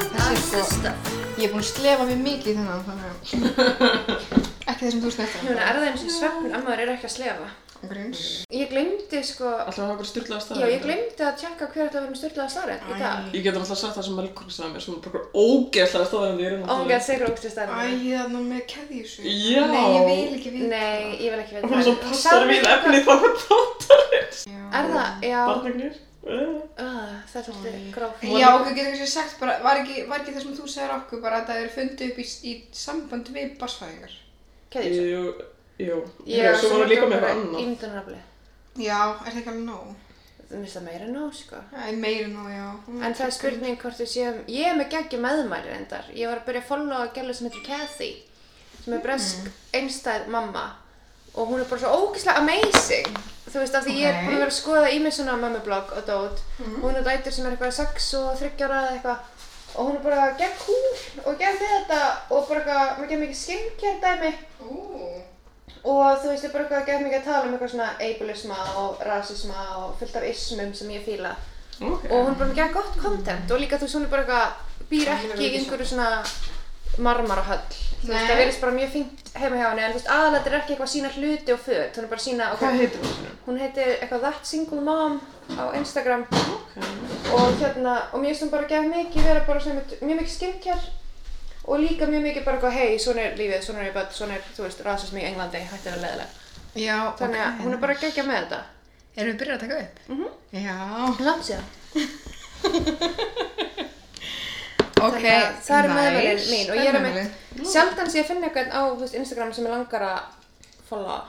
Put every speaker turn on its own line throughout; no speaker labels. Good
sko,
stuff.
ég er búin að slefa mjög mikið í þennan, þannig að ekki það sem þú
Ég meina,
snertir.
er það eins og svefn að maður er ekki að slefa?
Grins.
Ég glemdi sko,
Alltaf að okkur styrlaða staðar.
já ég glemdi að tjekka hver ætti að vera með styrlaða starrend í dag.
hérna? Ég get alltaf sagt það sem Melkor sagði mér, sem er bara okkur ógeðslega hérna staðar en ég er
Ómega oh sigur ógstu
Æ,
starrend.
þannig með keðjusug.
Já.
Nei, ég vil ekki vita.
Nei, ég vil ekki veit
Og hún svo passar við efnið þá hvað þáttarins.
Já.
Er það, já,
Barnagnir. Eh.
Ah, það er svolítið gráft.
Já, okkur getur kannski sagt bara, var ekki, var ekki það sem þú segir okkur bara að það er fundið upp í, í samband við basfæðingar?
Keðjur sig.
Jú, jú. Ég, svo voru líka með eitthvað annað.
Ímyndunarafli.
Já, er það ekki alveg nóg?
Það minnst það meira en nóg, sko.
Það er meira nóg, já.
En það er spurning hvort við séum, ég er með geggjum meðmæli reyndar. Ég var að byrja að followa gælu sem heitir Kathy, sem er bresk einstæð mamma. Og hún er bara svo ógeðslega amazing. Þú veist, af því ég
Ok.
er búin að vera að skoða í mig svona mammublog og dót. Hún er dætur sem er eitthvað 6 og 30 ára eða eitthvað. Og hún er bara gegn húl og gegn við þetta og bara eitthvað, maður gegn mikið skinkjær dæmi.
Ú,
Og þú veist, ég er bara eitthvað að gefa mikið að tala um eitthvað svona ableisma og rasisma og fullt af ismum sem ég fíla.
Ok.
Og hún er bara með gera gott content og líka þú veist, hún er bara eitthvað, býr ekki í einhverju svona marmarahöll. Þú veist,
Nei.
það verðist bara mjög fínt heima hjá henni, en þú veist, aðalega er ekki eitthvað að sína hluti og föt. Hún er bara að sína,
Hvað
ok,
heitir hún?
hún heitir eitthvað That Single Mom á Instagram
Ok.
og hérna, og mér finnst hún bara að gefa mikið vera bara svona, einmitt- mjög mikið skincare og líka mjög mikið bara eitthvað, hei, svona er lífið, svona er ég börn, svona er, þú veist, rasismi í Englandi, hætti að vera leiðileg.
já,
Þannig að hún er bara að gegja með þetta.
Erum við byrjað að taka upp? Mhm. Já.
Langt síðan.
Ok,
að það eru
nice.
meðmælin mín og ég er að
Meðmælin.
mynd sjaldan sé að finna eitthvað á þú veist, Instagram sem ég langar að followa og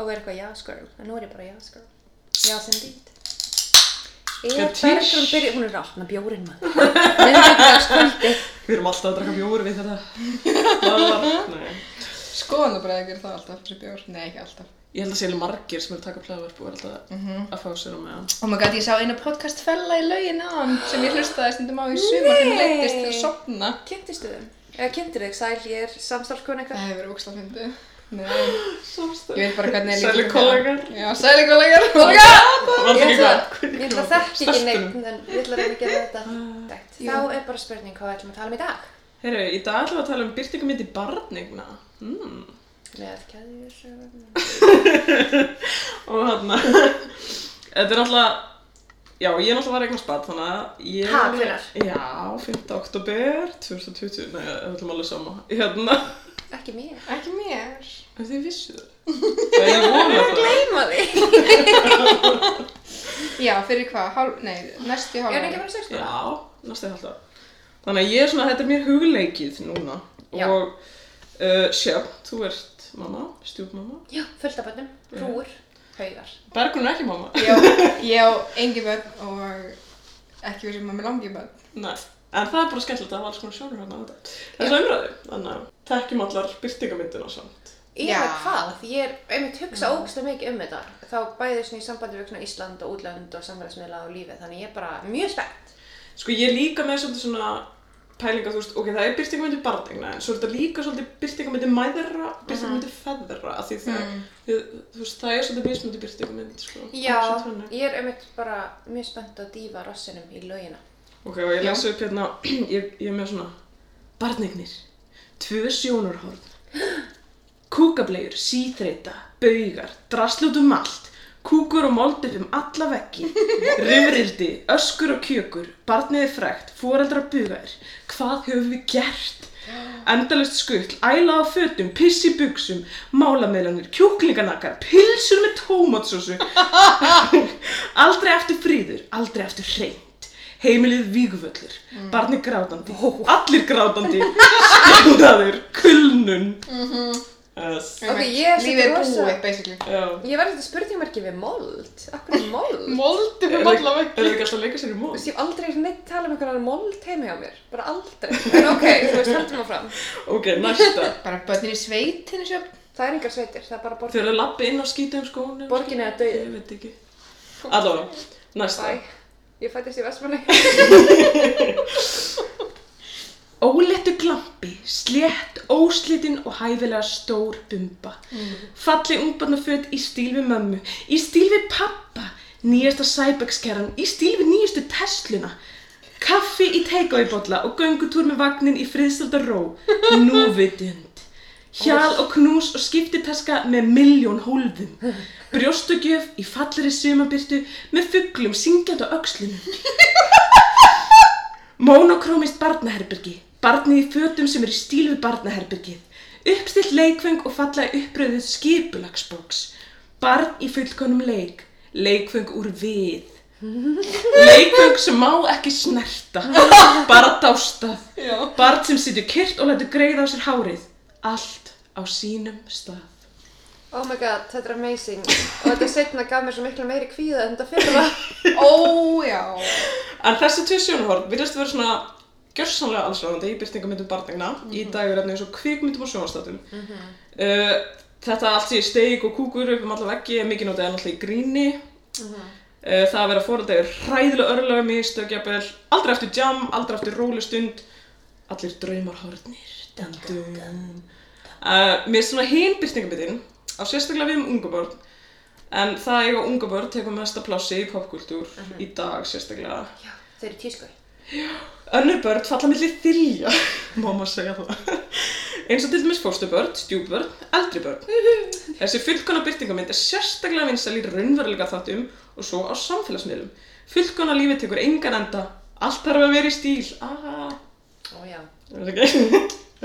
vera eitthvað yes girl. En nú er ég bara yes girl. Yes indeed. Er
Katish.
Bergrún byrjuð, hún er að opna bjórinn maður. Miðvikudagskvöldi.
Við erum alltaf að draka bjóri við hérna. þetta. Nei.
Skoðanabræði gerir það alltaf fyrir bjór. Nei, ekki alltaf.
Ég held að sé alveg margir sem eru að taka plæðverk og er alltaf
Mhm.
að fá sér á meðan.
Oh my god, ég sá eina podcast fella í laugin á hann sem ég hlustaði stundum á í sumar þegar ég leittist til að sopna.
Kynntistu þeim? Eða kynntir þig, sæl, ég er samstarfskona
Það
eitthvað.
hefur verið ógslag fyndið. Nei, ég
Samstæð.
veit bara hvernig ég
Sælir
til
kollegar.
þeirra. Já, sæli kollegar. Oh my god!
Það var
Ég
ekki
ætla,
hvað.
ég ætla að þekki Ah, ekki neitt, en ég ætla að reyna að gera þetta.
Jú.
Þá er bara spurning hvað við ætlum að tala um í dag.
Herru, í dag ætlum við að tala um byrtingamynd í barnigna. Mm.
Með keðjusögum.
Og þarna, þetta er alltaf, já, ég er alltaf að eignast barn, þannig að ég...
Ha, hvenær?
Já, 5. oktober 2020, nei, við ætlum alveg sama. Hérna,
Ekki mér.
Ekki mér.
en þið vissu það. Ég vona það.
Gleima því.
Já, fyrir hvað? Hálf, nei, næst í
Er
hálf.
hann ekki bara sex
Já, næstu alltaf. Þannig að ég er svona, þetta er mér hugleikið núna.
Já.
Og uh, sjöfn, þú ert mamma, stjúpmamma.
Já, fullt af bönnum, hrúur, haugar.
Bergrun er ekki mamma.
Ég á- Ég á engi börn og ekki verið sem að mér langi börn.
Nei, en það er bara skemmtilegt að það var alls konar sjónur hérna á þetta. Þess að umræðu, þannig að tekjum allar byrtingamyndina samt.
Eða
Já.
hvað, ég er einmitt hugsa ógstlega mikið um þetta. Þá bæði svona í sambandi við svona Ísland og útlönd og samfélagsmiðla og lífið, þannig ég er bara mjög spennt.
Sko ég er líka með svolítið svona pælinga, þú veist, ok, það er byrtingamyndi barnegna, en svo er þetta líka svolítið byrtingamyndi mæðra, byrtingamyndi feðra, af því það, þið, þú veist, það er svolítið mismundi byrtingamynd, sko.
Já,
Svolítið þannig.
ég er einmitt bara mjög spennt að dýfa rossinum í laugina.
Ok, og ég lesa upp hérna, ég, ég er með svona, barnegnir, tvö sjónurhorn, kúkablegur, síþreita, baugar, draslut um allt, kúkur og mold upp um alla veggi, rifrildi, öskur og kjökur, barniði frekt, foreldrar bugaðir, hvað höfum við gert? Endalist skull, æla á fötum, piss í buksum, málameðlanir, kjúklinganakar, pilsur með tómatsósu, aldrei eftir fríður, aldrei eftir hreint, heimilið vígvöllur, barni grátandi, allir grátandi, skjöndaður, kulnun. Mhm. Yes.
Ok, ég er
Lífið er
rosa-
búið, basically.
Já.
Ég var eitthvað spurningmarki við mold. Akkur er mold?
Moldum
Er
um alla
það
vekki.
ekki alltaf að leika sér í móð?
Þú veist, ég hef aldrei neitt tala um einhverjar mold heima hjá mér. Bara aldrei. En ok, þú veist, höldum áfram.
Ok, næsta.
Bara börnir í sveitinu sjöfn.
Það er engar sveitir, það er bara borgin.
Þau eru að lappa inn á skítum skónum.
Borgin eða dauði?
Ég veit ekki. Allavega, næsta.
Æ, ég fættist í Vestmanni.
Óléttu glampi, slétt, óslitin og hæfilega stór bumba. Falli ungbarnaföt í stíl við mömmu, í stíl við pappa, nýjasta Cybex-kerran, í stíl við nýjastu Tesluna. kaffi í teikavíbolla og göngutúr með vagnin í friðstölda ró, núvitund. Hjal og knús og skiptitaska með milljón hólfum. Brjóstugjöf í fallri sumabyrtu með fugglum syngjandi á öxlunum. Monokrómist barnaherbyrgi. Barnið í fötum sem er í stíl við barnaherbyrgið. Uppstilt leikfeng og falla í uppröðuð skipulagsbóks. Barn í fullkonum leik. Leikfeng úr við. Leikfeng sem má ekki snerta. Bara dástað.
Já.
Barn sem situr kyrt og lætur greiða á sér hárið. Allt á sínum stað.
Oh my god, þetta er amazing og þetta setna gaf mér svo miklu meiri kvíða en þetta fyrir það
Ó, já.
En þessi tvö sjónarhorn virðast vera svona gjörsanlega allsráðandi í byrtingamöndum barnegna í dagurefni eins og kvikmyndum og sjónastátum. uh, þetta allt í steik og kúkur upp um alla veggi er mikið notið en alltaf í gríni. uh, það að vera fóröldið er hræðilega örlega mistökjabel, aldrei eftir jam, aldrei eftir róli stund, allir draumarhornir. Dun, dun. Uh, mér er svona hinn byrtingamöndin á sérstaklega við um unga börn en það eiga unga börn tekur mesta plássi í popkultúr í dag sérstaklega.
Já, þeir eru tísku
Önnur börn falla millir þylja, má maður segja það. Eins og til dæmis fóstubörn, stjúbörn, eldri börn. Þessi fullkona byrtingamind er sérstaklega vinsal í raunveruleika þáttum og svo á samfélagsmiðlum. Fullkona lífið tekur engan enda, allt þarf að vera í stíl. Aha.
Ó já
Er það ekki?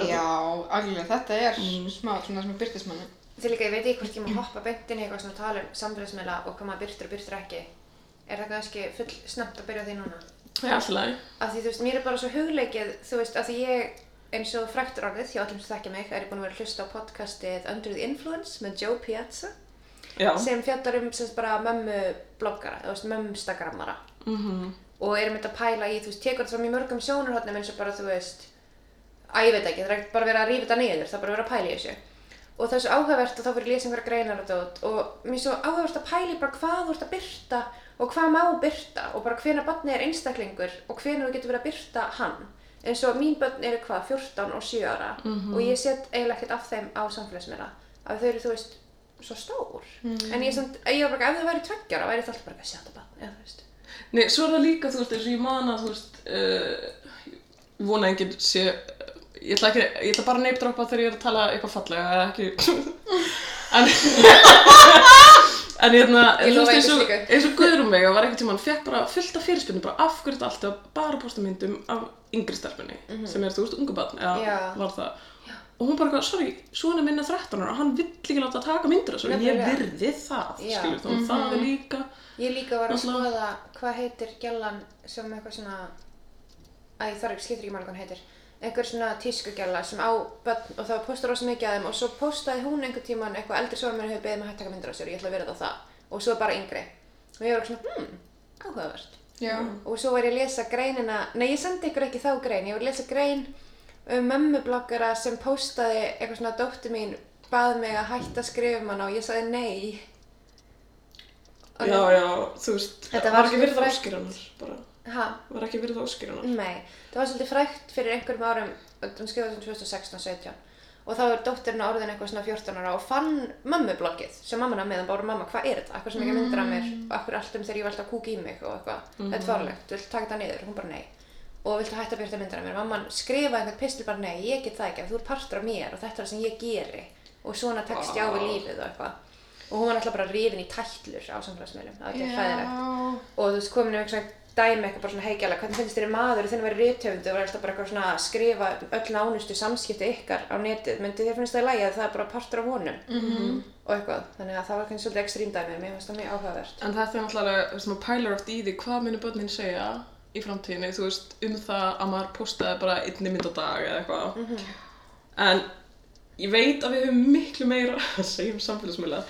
Já, algjörlega, þetta er
Mm.
smá svona sem er byrtismanni.
Þeir líka, ég veit ekki hvort ég má hoppa beint inn í eitthvað svona að tala um samfélagsmiðla og hvað maður byrtir og byrtir ekki Er það kannski full snemmt að byrja á því núna?
Já, alltaf lagi.
Af því þú veist, mér er bara svo hugleikið, þú veist, af því ég, eins og fræktur orðið, hjá öllum sem þekkja mig, er ég búin að vera að hlusta á podcastið Under the Influence með Joe Piazza
Já.
sem fjallar um semst bara mömmu bloggara, þú veist, mömmstagramara
Mhm.
og erum þetta að pæla í, þú veist, tekur þetta fram í mörgum sjónarhóttnum eins og bara, þú veist, að ég veit ekki, það er ekkert bara verið að rífa þetta niður, það er bara verið að pæla í þessu. Og það er svo áhugavert og þá fyrir lýsa einhverja greinar og dót og mér er svo áhugavert að pæla í bara hvað þú ert að byrta og hvað má byrta og bara hvena barnið er einstaklingur og hvena þú getur verið að byrta hann. En svo mín börn eru hvað, 14 og 7 ára og ég set eiginlega ekkert af þeim á samfélagsmiðla af þau eru, þú veist, svo stór. En ég, er samt, ég var bara, ef þau væri 20 ára, væri það alltaf bara að sjá þetta barn, eða þú veist.
Nei, svo er það líka, þú veist, eins og ég man að, þú veist, uh, ég vona að enginn sé, ég ætla, ekki, ég ætla bara að neipdroppa þegar ég er að tala eitthvað fallega, eða ekki, en, en hérna,
Ég
þú
lofa
veist, eins og,
engu slíku.
eins og Guðrún mig, var eitthvað tíma, hann fekk bara fullt af fyrirspilnum, bara af hverju þetta alltaf bara posta myndum af yngri stelpunni, sem er, þú veist, ungu barn, eða
Mhm. Já.
var það. Og hún bara, eitthvað, sorry, svona minna 13 ára, hann vill ekki láta taka myndir þessu, ég
Nefnilega.
virði
Já.
það,
Mhm.
skilur þú, það er líka,
Ég líka var að
Náttúrulega.
skoða hvað heitir gjallan sem eitthvað svona Æ, það er ekki skiptir ekki máli hvað hann heitir einhver svona tískugjalla sem á börn og það postar rosa mikið að þeim og svo postaði hún einhver tíman eitthvað eldri svo að mér hefur beðið mig að hægt taka myndir á sér og ég ætla að vera það á það og svo bara yngri og ég var eitthvað svona, hmm, áhugavert
Já.
og svo var ég að lesa greinina nei ég sendi ykkur ekki þá grein, ég var að lesa grein um mömmubloggara sem postaði eitthvað svona dóttu mín bað mig að hætta að skrifa um hana og ég sagði nei Og
Já, já, þú veist,
Þetta
var
var
ekki
svolítið
verið
frægt.
áskýranar, bara,
ha,
var ekki verið áskýranar.
Nei, það var svolítið frækt fyrir einhverjum árum, hún skrifaði sem 2016-17 og þá er dóttirinn orðin eitthvað svona 14 ára og fann mömmubloggið sem mamman að meðan bara mamma, hvað er þetta? Akkur sem ekki myndir að mér og akkur allt um þegar ég var alltaf að kúka í mig og eitthvað Þetta er fárlegt, viltu taka þetta niður? Hún bara nei og viltu hætta að byrja myndir að mér? Mamman skrifaði einhvern pistil bara nei, ég get það ekki, þú er partur af mér og þetta er það sem ég geri og svona tekst ég á við
Vá.
lífið og eitthvað og hún var alltaf bara rifin í tætlur á samfélagsmiðlum, það var ekki hræðilegt
Já.
og þú veist komin um eitthvað dæmi eitthvað bara svona heigjala, hvernig finnst þér maður og þinn að vera rithöfundu og vera alltaf bara eitthvað svona að skrifa um öll nánustu samskipti ykkar á netið myndi þér finnst það í lagi að það er bara partur af honum -hmm. og eitthvað, þannig að það var kannski svolítið ekstrím dæmi, mér finnst það mjög áhugavert
En þetta er náttúrulega, þú veist, maður pælar oft í því hvað munu börnin segja í framtíðinni, þú veist, um það að maður postaði bara einni mynd á dag eða eitthvað.
Mhm.
En ég veit að við höfum miklu meira að segja um samfélagsmiðla,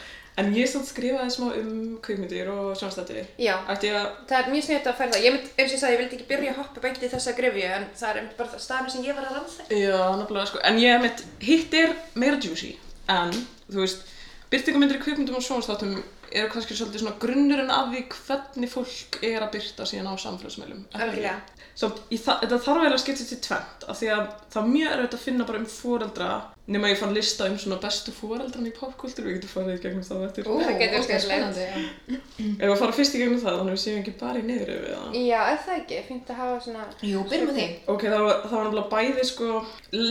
en ég samt skrifaði smá um kvikmyndir og sjónstætti.
Já,
Ætti ég að,
það er mjög sniðt að færa það, ég mynd, eins og ég sagði, ég vildi ekki byrja að hoppa beint í þessa grefju en það er einmitt bara staðinu sem ég var að rannsaka
já, nefnilega, sko, en ég mitt, hitt er meira juicy, en, þú veist, Byrtingamindir í kvikmyndum og sjónastáttum eru kannski svolítið svona grunnurinn af því hvernig fólk er að byrta síðan á samfélagsmeilum.
Algjörlega.
Svo í þa þetta þarf eiginlega að skipta til tvent af því að það er mjög erfitt að finna bara um fóreldra nema ég fann lista um svona bestu fóreldrarna í popkultur við getum farið í gegnum það á eftir.
Ú,
Það gæti verið
ókei,
skemmtilegt.
spennandi, já.
Ef við að fara fyrst í gegnum það þannig að við séum ekki bara í niður yfir það.
Já, ef það ekki, fínt að hafa svona...
Jú, byrjum á því.
Ok, það var, það var nefnilega bæði sko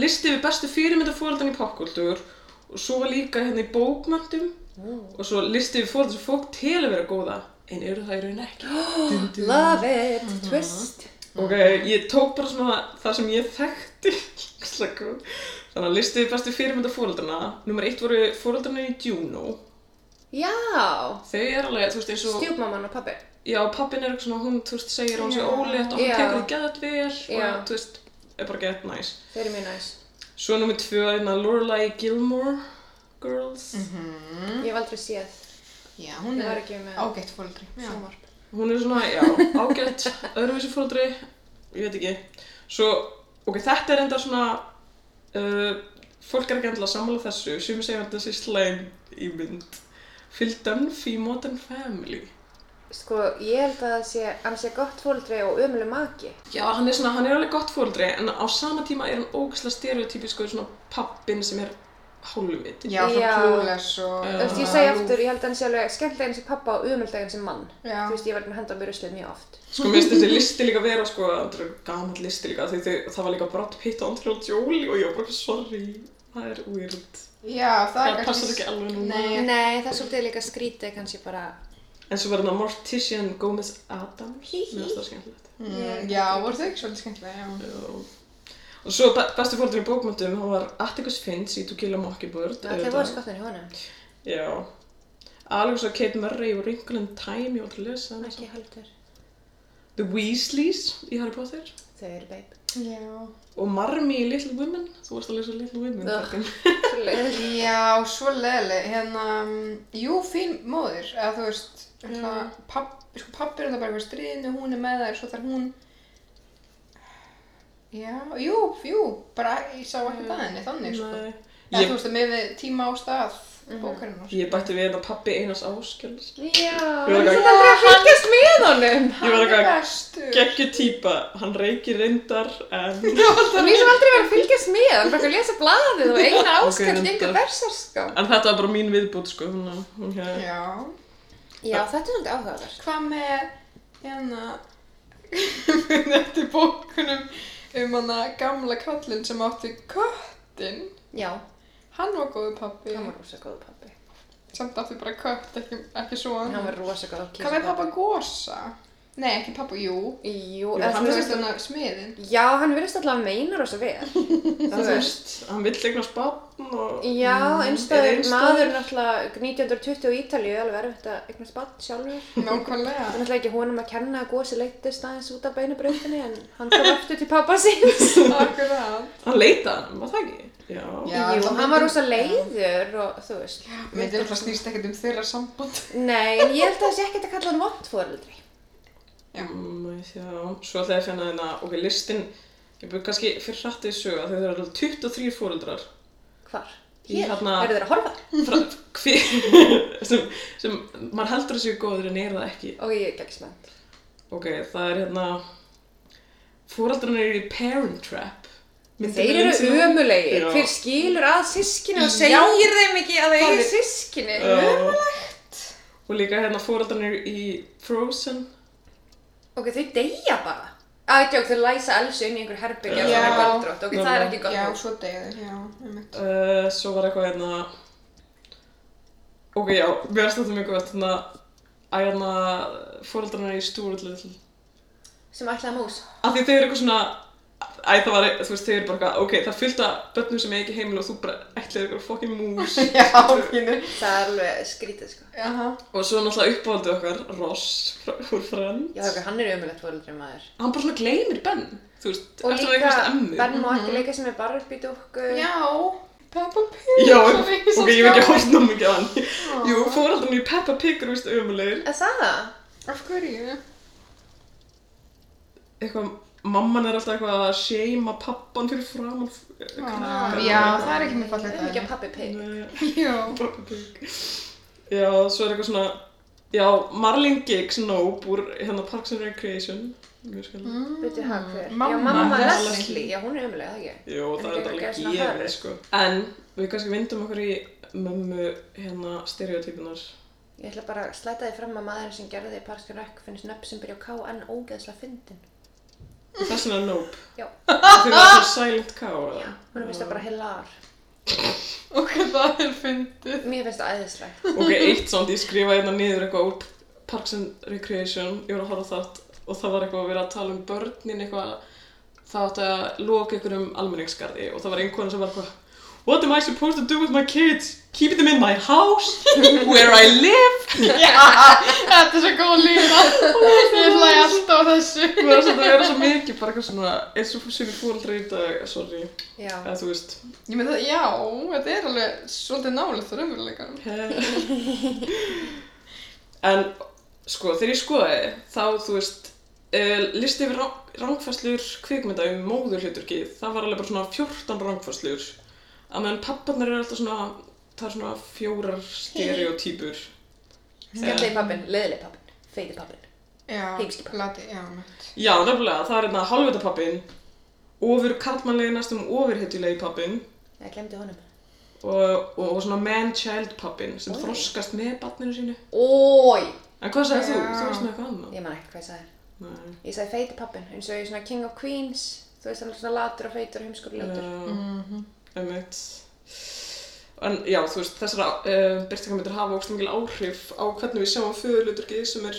listi við bestu fyrirmynda fóreldan í popkultúr og svo var líka hérna í bókmöntum og svo listi við fóreldan sem fólk telur vera góða en eru það í raun ekki. Dun, dun.
Love it, twist.
Ok, ég tók bara svona það sem ég þekkti. Ógeðslega góð. Þannig að listi við bestu fyrirmynda fóreldrana. Númer eitt voru fóreldrana í Juno.
Já,
Þau er alveg, þú veist, eins og,
stjúpmamman og pappi.
já, pappin er eitthvað svona, hún, þú veist, segir að hún sé
Já.
ólétt og hann
Já.
tekur það gæðat vel
Já.
og, þú veist, er bara gæðat næs.
Þeir eru mjög næs.
Svo nummið tvö, hérna Lorelai Gilmore Girls.
Mm.
Ég hef aldrei séð
Mhm. Já, hún
Ég var
er
ekki með-
ágætt fólkri.
sjónvarp.
Hún er svona, já, ágætt, öðruvísi fóldri, ég veit ekki. Svo, ok, þetta er enda svona, uh, fólk er ekki endilega sammála þessu, sem segja að þetta sé slæm í mynd. Phil Dunphy Modern Family.
Sko, ég held að það sé, hann sé gott fóldri og ömuleg maki.
Já, hann er svona, hann er alveg gott fóldri, en á sama tíma er hann ógæslega stereotypísku svona pappin sem er hálfviti.
Já, svona
Já.
klúles og...
Þú
Þú veist, ég
svona
segi
lúf.
aftur, ég held að hann sé alveg skemmtilega eins og pappa og ömulega eins og mann.
Já.
Þú veist, ég var ekki að henda á mér ruslið mjög oft.
Sko, mér finnst þessi listi líka vera, sko, þetta er gaman listi líka, því þau, það var líka Brad Pitt og Andrew Jolie og ég var bara, sorry, það er weird.
Já, það
Það
er
passar ekki alveg núna.
Nei.
Nei, það er svolítið líka skrítið kannski bara...
En svo var hérna Mortician Gomez Adams, mér finnst það skemmtilegt.
Mm, Já, voru þau ekki svolítið skemmtilega, já.
Já. Og svo be bestu fórhaldin í bókmyndum, hún var Atticus Finch í To Kill a Mockingbird.
Allir
auðvitað.
voru
sko-
skottin í honum.
Já. Alveg svo Kate Murray og Rinklin Time, ég var til að lesa hana.
Ekki heldur.
The Weasleys í Harry Potter.
Þau eru beip.
Já.
Og Marmee í Little Women, þú varst að lesa Little Women.
Ugh.
Berglind.
Já, svo leðileg, hérna, mm, jú, fín móðir, eða þú veist, mm. papp, sko pappir er það bara eitthvað í stríðinu, hún er með þær, svo þarf hún, já, jú, jú, bara, ég sá ekki það henni, þannig, sko.
Nei.
Eða
Ég
þú veist, með við tíma á stað, bókarinn og
Ég bætti við þetta pappi Einars Áskjöls.
Já,
Ég var
hann
ekki-
er aldrei að fylgjast með honum.
Ég var eitthvað
bestur.
geggju týpa, hann reykir reyndar en...
Og mér sem aldrei verið að fylgjast með, hann er bara að lesa blaðið og eina
Ok,
áskall
reyndar.
gengur versarskap.
en þetta var bara mín viðbútt sko, þannig að hún hefði...
Já.
Já, þetta er svolítið áhugavert.
Hvað með, hérna, muni eftir bókunum um hana gamla kallinn sem átti köttinn?
Já,
Hann var góðu pappi.
hann var rosa góð pappi.
Samt átti bara kött, ekki, ekki svo hann.
Hann var rosa góð kísa.
Hvað með pappa gósa? Nei, ekki pappa, jú.
Jú,
Jú
eða
hann
þú
veist
veist hann.
hann að smiðin.
Já, hann virðist alltaf meina rosa vel.
Þú veist, hann vill eignast barn og... Mm,
Já,
er
einstæður
einstæður.
maður náttúrulega 1920 í Ítalíu, er alveg erfitt að eignast bann sjálfur. Það er
Nákvæmlega.
náttúrulega ekki honum að kenna að gósi leittist aðeins út af beinubröndinni en hann kom aftur til pappa síns.
Akkurat.
Hann leita hann, var það ekki? Já.
Já.
Jú,
það
hann var
myndi-
rosa leiður og þú veist.
Mér er alltaf snýst ekkert um þeirra samband.
Nei, en ég held að það sé ekkert að kalla hann vond fóreldri.
Já.
Mm, já. Svo ætlaði ég að finna hérna, ok, listin, ég búið kannski fyrir hrattið söga, þau eru alveg 23 fóröldrar
Hvar?
Í
Hér? Eru
þarna-
þeir að horfa?
frá hver, sem, sem maður heldur að séu góður en er það ekki.
Og ég er ekki spennt.
Ok, það er hérna, fóröldrarnir eru í Parent Trap. myndin
Þeir
með
eru
Lindsay Lohan.
ömulegir,
Já.
hver skilur að sískinu og
Já.
segir þeim ekki að þeir
Það
eru
er-
sískinu.
Ömulegt. Og líka hérna fóröldarnir í Frozen.
Ok, þau deyja bara. Ætjók, þau læsa Elsu inn í einhver herbyggja og
Já.
það er valdrótt. Ok, það er ekki gott.
Já,
mál.
svo degið. Já, ég mynd.
Uh, svo var eitthvað hérna... Ok, já, mér finnst þetta mjög gott. Hérna, að hérna fóröldarnir í Stuart Little.
Sem ætlaði mús.
Af því þau eru eitthvað svona... Æ, það var, þú veist, þau eru bara eitthvað, ok, það er fullt af börnum sem er ekki heimil og þú bara ætlaði eitthvað fokkin mús.
Já, fínu.
Það er alveg skrítið, sko.
Jaha.
og svo náttúrulega uppáhaldið okkar, Ross, frá, úr Friends.
Já, ok, hann er umhverfilegt fóreldri maður.
Hann bara svona gleymir Ben, þú veist,
Og
eftir að
líka,
eignast emmu.
Ben má ekki leika sem er Barbie dúkku.
Mhm. Já. Peppa Pig.
Já,
Sorry, svo
ok, ég hef ekki
skrá.
hótt ná mikið á hann. Jú, fórhaldan í Peppa Pig eru vist ömulegir.
Er það?
Af hverju?
Eitthvað mamman er alltaf eitthvað að seima pappan fyrir fram
Ah.
Ah.
Já, já, það er ekki mjög fallegt
Það er mikið að pappi pig.
Já,
Já, svo er eitthvað svona Já, Marlene Giggs Nope úr hérna Parks and Recreation Mjög skil mm.
Veitu hvað hver?
Mamma
Já, mamma
Leslie.
Leslie. Já, hún er umlega, það ekki?
Jó,
En
það er
ekki
alveg
eitthvað svona
gefið
hörð.
sko En við kannski vindum okkur í mömmu hérna stereotypunar
Ég ætla bara að slæta því fram að maðurinn sem gerði því Parks and Rec finnst nöpp sem byrja á K en ógeðslega fyndin.
Þess vegna Nope
Já,
Þegar það er silent K eða?
hún finnst það bara hilar.
ok, það er fyndið.
Mér finnst það æðislegt.
Ok, eitt svona, ég skrifaði hérna niður eitthvað úr Parks and Recreation, ég var að horfa á þátt og það var eitthvað að vera að tala um börnin eitthvað, það átti að loka einhverjum almenningsgarði og það var einhvern sem var eitthvað What am I supposed to do with my kids? Keep them in my house? Where I live?
Já, þetta er svo góð lína. Ég hlæ alltaf á þessu.
Það er svona að vera svo mikið, bara eitthvað svona, eins og sem við fóreldri í dag, sorry,
Já.
eða þú veist
Ég með það, já, þetta er alveg svolítið nálið það raunveruleikanum.
En sko, þegar ég skoðaði þá, þú veist, uh, listi yfir rang- rangfærslur kvikmynda um móðurhlutverki, það var alveg bara svona 14 rangfærslur. Að meðan papparnar eru alltaf svona, það er svona fjórar stereotypur.
Skellið pappin, leðileg pappin, feiti pappin.
Já,
Heimski pabbi.
plati, já, mitt.
Já, nefnilega, það er hérna halvvita pappin, ofur karlmannlegi næstum ofurhetjulegi pappin
Ég glemdi honum.
og, og, og svona man-child pappin sem
Ó.
þroskast með barninu sínu.
Ói!
En hvað sagði þú?
Já.
Þú varst með eitthvað annað?
Ég man ekki hvað ég sagði.
Nei.
Ég sagði feiti pappin, eins og ég svona King of Queens. Þú veist, hann er svona latur og feitur og heimskulegur.
Já.
Mhm.
Einmitt. En já, þú veist, þessar uh, byrtingamindur hafa ógst mingil áhrif á hvernig við sjáum föðurluturkið sem er,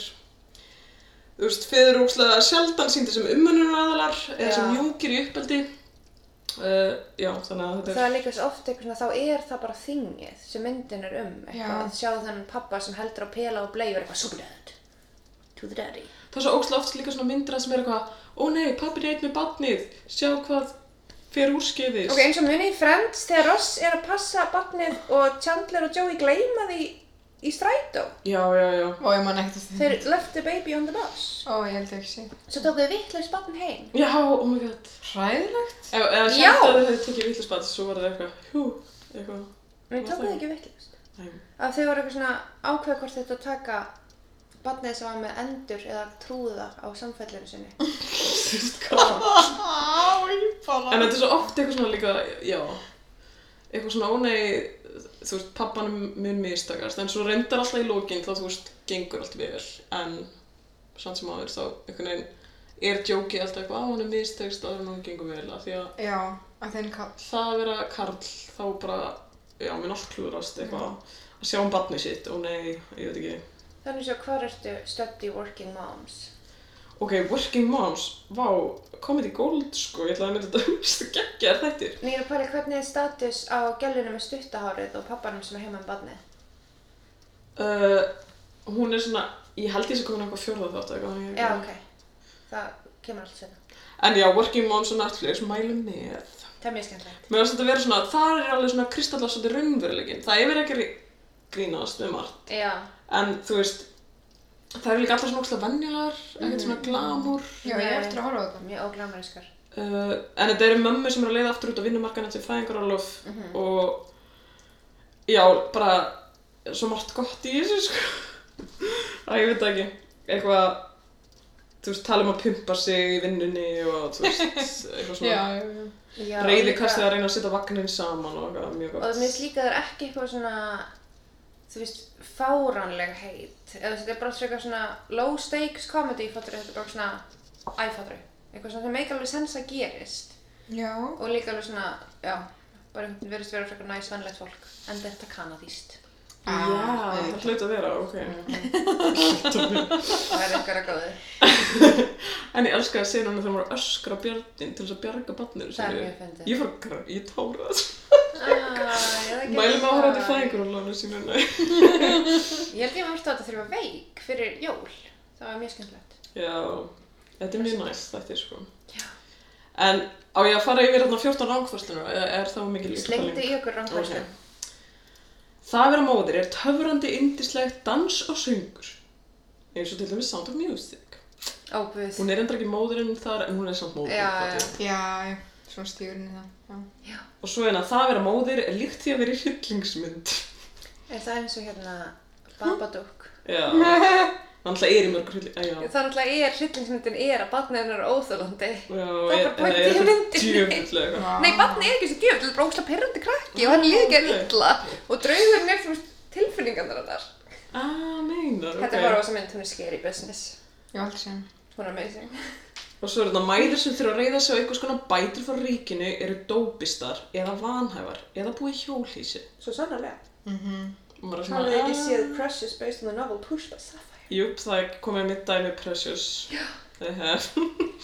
þú veist, föður ógstlega sjaldan síndir sem umönnunaraðalar eða
Já.
sem mjúkir í uppeldi. Uh, já, þannig að
Það
þetta
er líka svo oft eitthvað svona, þá er það bara þingið sem myndin er um. Eitthvað
Já.
að sjá þennan pappa sem heldur á pela og bleið og er eitthvað super dad. To the daddy.
er, það er svo ógstlega oft líka svona myndir að sem er eitthvað, ó nei, pappin er einn með barnið, sjá hvað fer úrskeiðis.
Ok, eins og munið í Friends þegar Ross er að passa barnið og Chandler og Joey gleyma því í strætó.
Já, já, já.
Ó, ég man ekkert eftir
Þeir left the baby on the bus.
Ó, ég held ég ekki sé.
Mhm. Svo tókuðu vittlaus barn heim.
Já, oh my god.
Hræðilegt?
Ef, ef
Já.
sjaldan þau tekið vittlisbad, svo var það eitthvað, hú, eitthvað.
En
Var
þau tókuðu
það-
ekki vittlaust.
Nei.
Að þau voru eitthvað svona ákveða hvort þetta að taka barnið sem var með endur eða trúða á samfellinu sinni.
Þú veist hvað.
Á, ég bara...
En þetta er svo oft eitthvað svona líka, já, eitthvað svona ónei, þú veist, pappan mun mistakast, en svo reyndar alltaf í lókinn þá, þú veist, gengur allt vel, en samt sem áður þá, einhvern veginn, er djókið alltaf eitthvað, á hann er mistakast, áður en hún gengur vel, af því að
Já, að þeim kall.
það að vera karl, þá bara, já, minn allt klúðrast eitthvað, að sjá um barnið sitt, ónei, ég veit ekki.
Þannig svo hvar ertu stödd í Working Moms?
Ok, Working Moms, vá, Comedy Gold, sko, ég ætlaði að mynda þetta, þú veist, geggjar þættir.
Nei, ég er að pæla hvernig er status á gælunum með stuttahárið og pappanum sem er heima með barnið.
Uh, hún er svona, ég held ég sé komin á eitthvað fjórða þátt eða eitthvað.
Já, ok. Það kemur allt sérna.
En já, Working Moms og Netflix mælum með.
Það er mjög skemmtilegt.
Mér finnst þetta að vera svona, það er alveg svona kristallast svolítið raunverulegin. Það er verið ekki grínast með margt.
Já.
En þú veist, það eru líka allar svona ógslag venjulegar, ekkert svona glamúr.
Já, ég
Nei.
er eftir að horfa á þetta.
Mjög óglamuriskar.
Uh, en þetta eru mömmu sem eru að leiða aftur út á vinnumarkan eftir fæðingarálof
Mhm.
og já, bara svo margt gott í þessu sko að ég veit það ekki eitthvað, þú veist, tala um að pumpa sig í vinnunni og þú veist,
Já,
eitthvað svona
já, já.
Já, og
reyði
líka-
kastið að reyna að setja vagnin saman og eitthvað
Og
mjög
mér
gott
finnst líka að það er ekki eitthvað svona, þú veist, fáránlega heit. Eða þú veist, þetta er bara eitthvað svona low stakes comedy, fattur þetta er bara svona æfattur. Eitthvað svona sem make alveg sens að gerist.
Já.
Og líka alveg svona, já, bara einhvern veginn verðist vera frekar næs vennlegt fólk. En þetta kanadíst.
Já,
nei.
það hlut að vera, ok
Það er einhverja góði.
En ég elska að segja hann að það voru að öskra björnin til þess að bjarga barninu
Það er
sínu.
mjög fyndið. Ah,
Ég fór að græna, ég tóra það Mælum
Mælum
að horfa til fæðingarálofunum sínu, nei
Ég held ég að horfa á þetta þegar ég var veik fyrir jól. Það var mjög skemmtilegt.
Já, þetta er mjög næst þetta er sko.
Já.
En á ég að fara yfir þarna 14 ránkvörslunum eða er það mikið
Slengdi í okkur rangfærslu.
Ok. Það að vera móðir er töfrandi, indislegt dans og söngur. Eins og til dæmis Sound of Music.
Ó, guð.
Hún er enda ekki móðurinn þar en hún er samt móðurinn.
Já,
þarna.
já.
Já, já, svona stígurinn í það. Já.
Já.
Og svo en að það að vera móðir er líkt því að vera í hryllingsmynd.
Er það eins og hérna Babadook?
Já. Hann alltaf er í mörgur hrylling... Já.
Það er alltaf er, hryllingsmyndin er að barnið hennar er óþólandi.
Já,
Það er bara pointið í myndinni.
Djöfullega eitthvað.
Já.
Nei, barnið er ekki þessi djöf, þetta er bara ósla perrandi krakki og hann líður ekki að
ok.
illa og draugurinn er þú veist tilfinningarnar hennar.
Ah, meinar, ok.
Þetta er bara á þessa mynd, hún er scary business.
Ég var aldrei sem.
Hún er amazing.
Og svo eru þetta mæður sem þurfa að reyða sig á einhvers konar bætur frá ríkinu eru dópistar eða vanhæfar eða búið í hjólhísi.
Svo sannarlega.
Ah.
Mhm.
Og maður er svona...
Hafið þið ekki
ah,
séð Precious based on the novel Pushed by Sapphire?
Júp, það er komið mitt dæmi Precious. Já.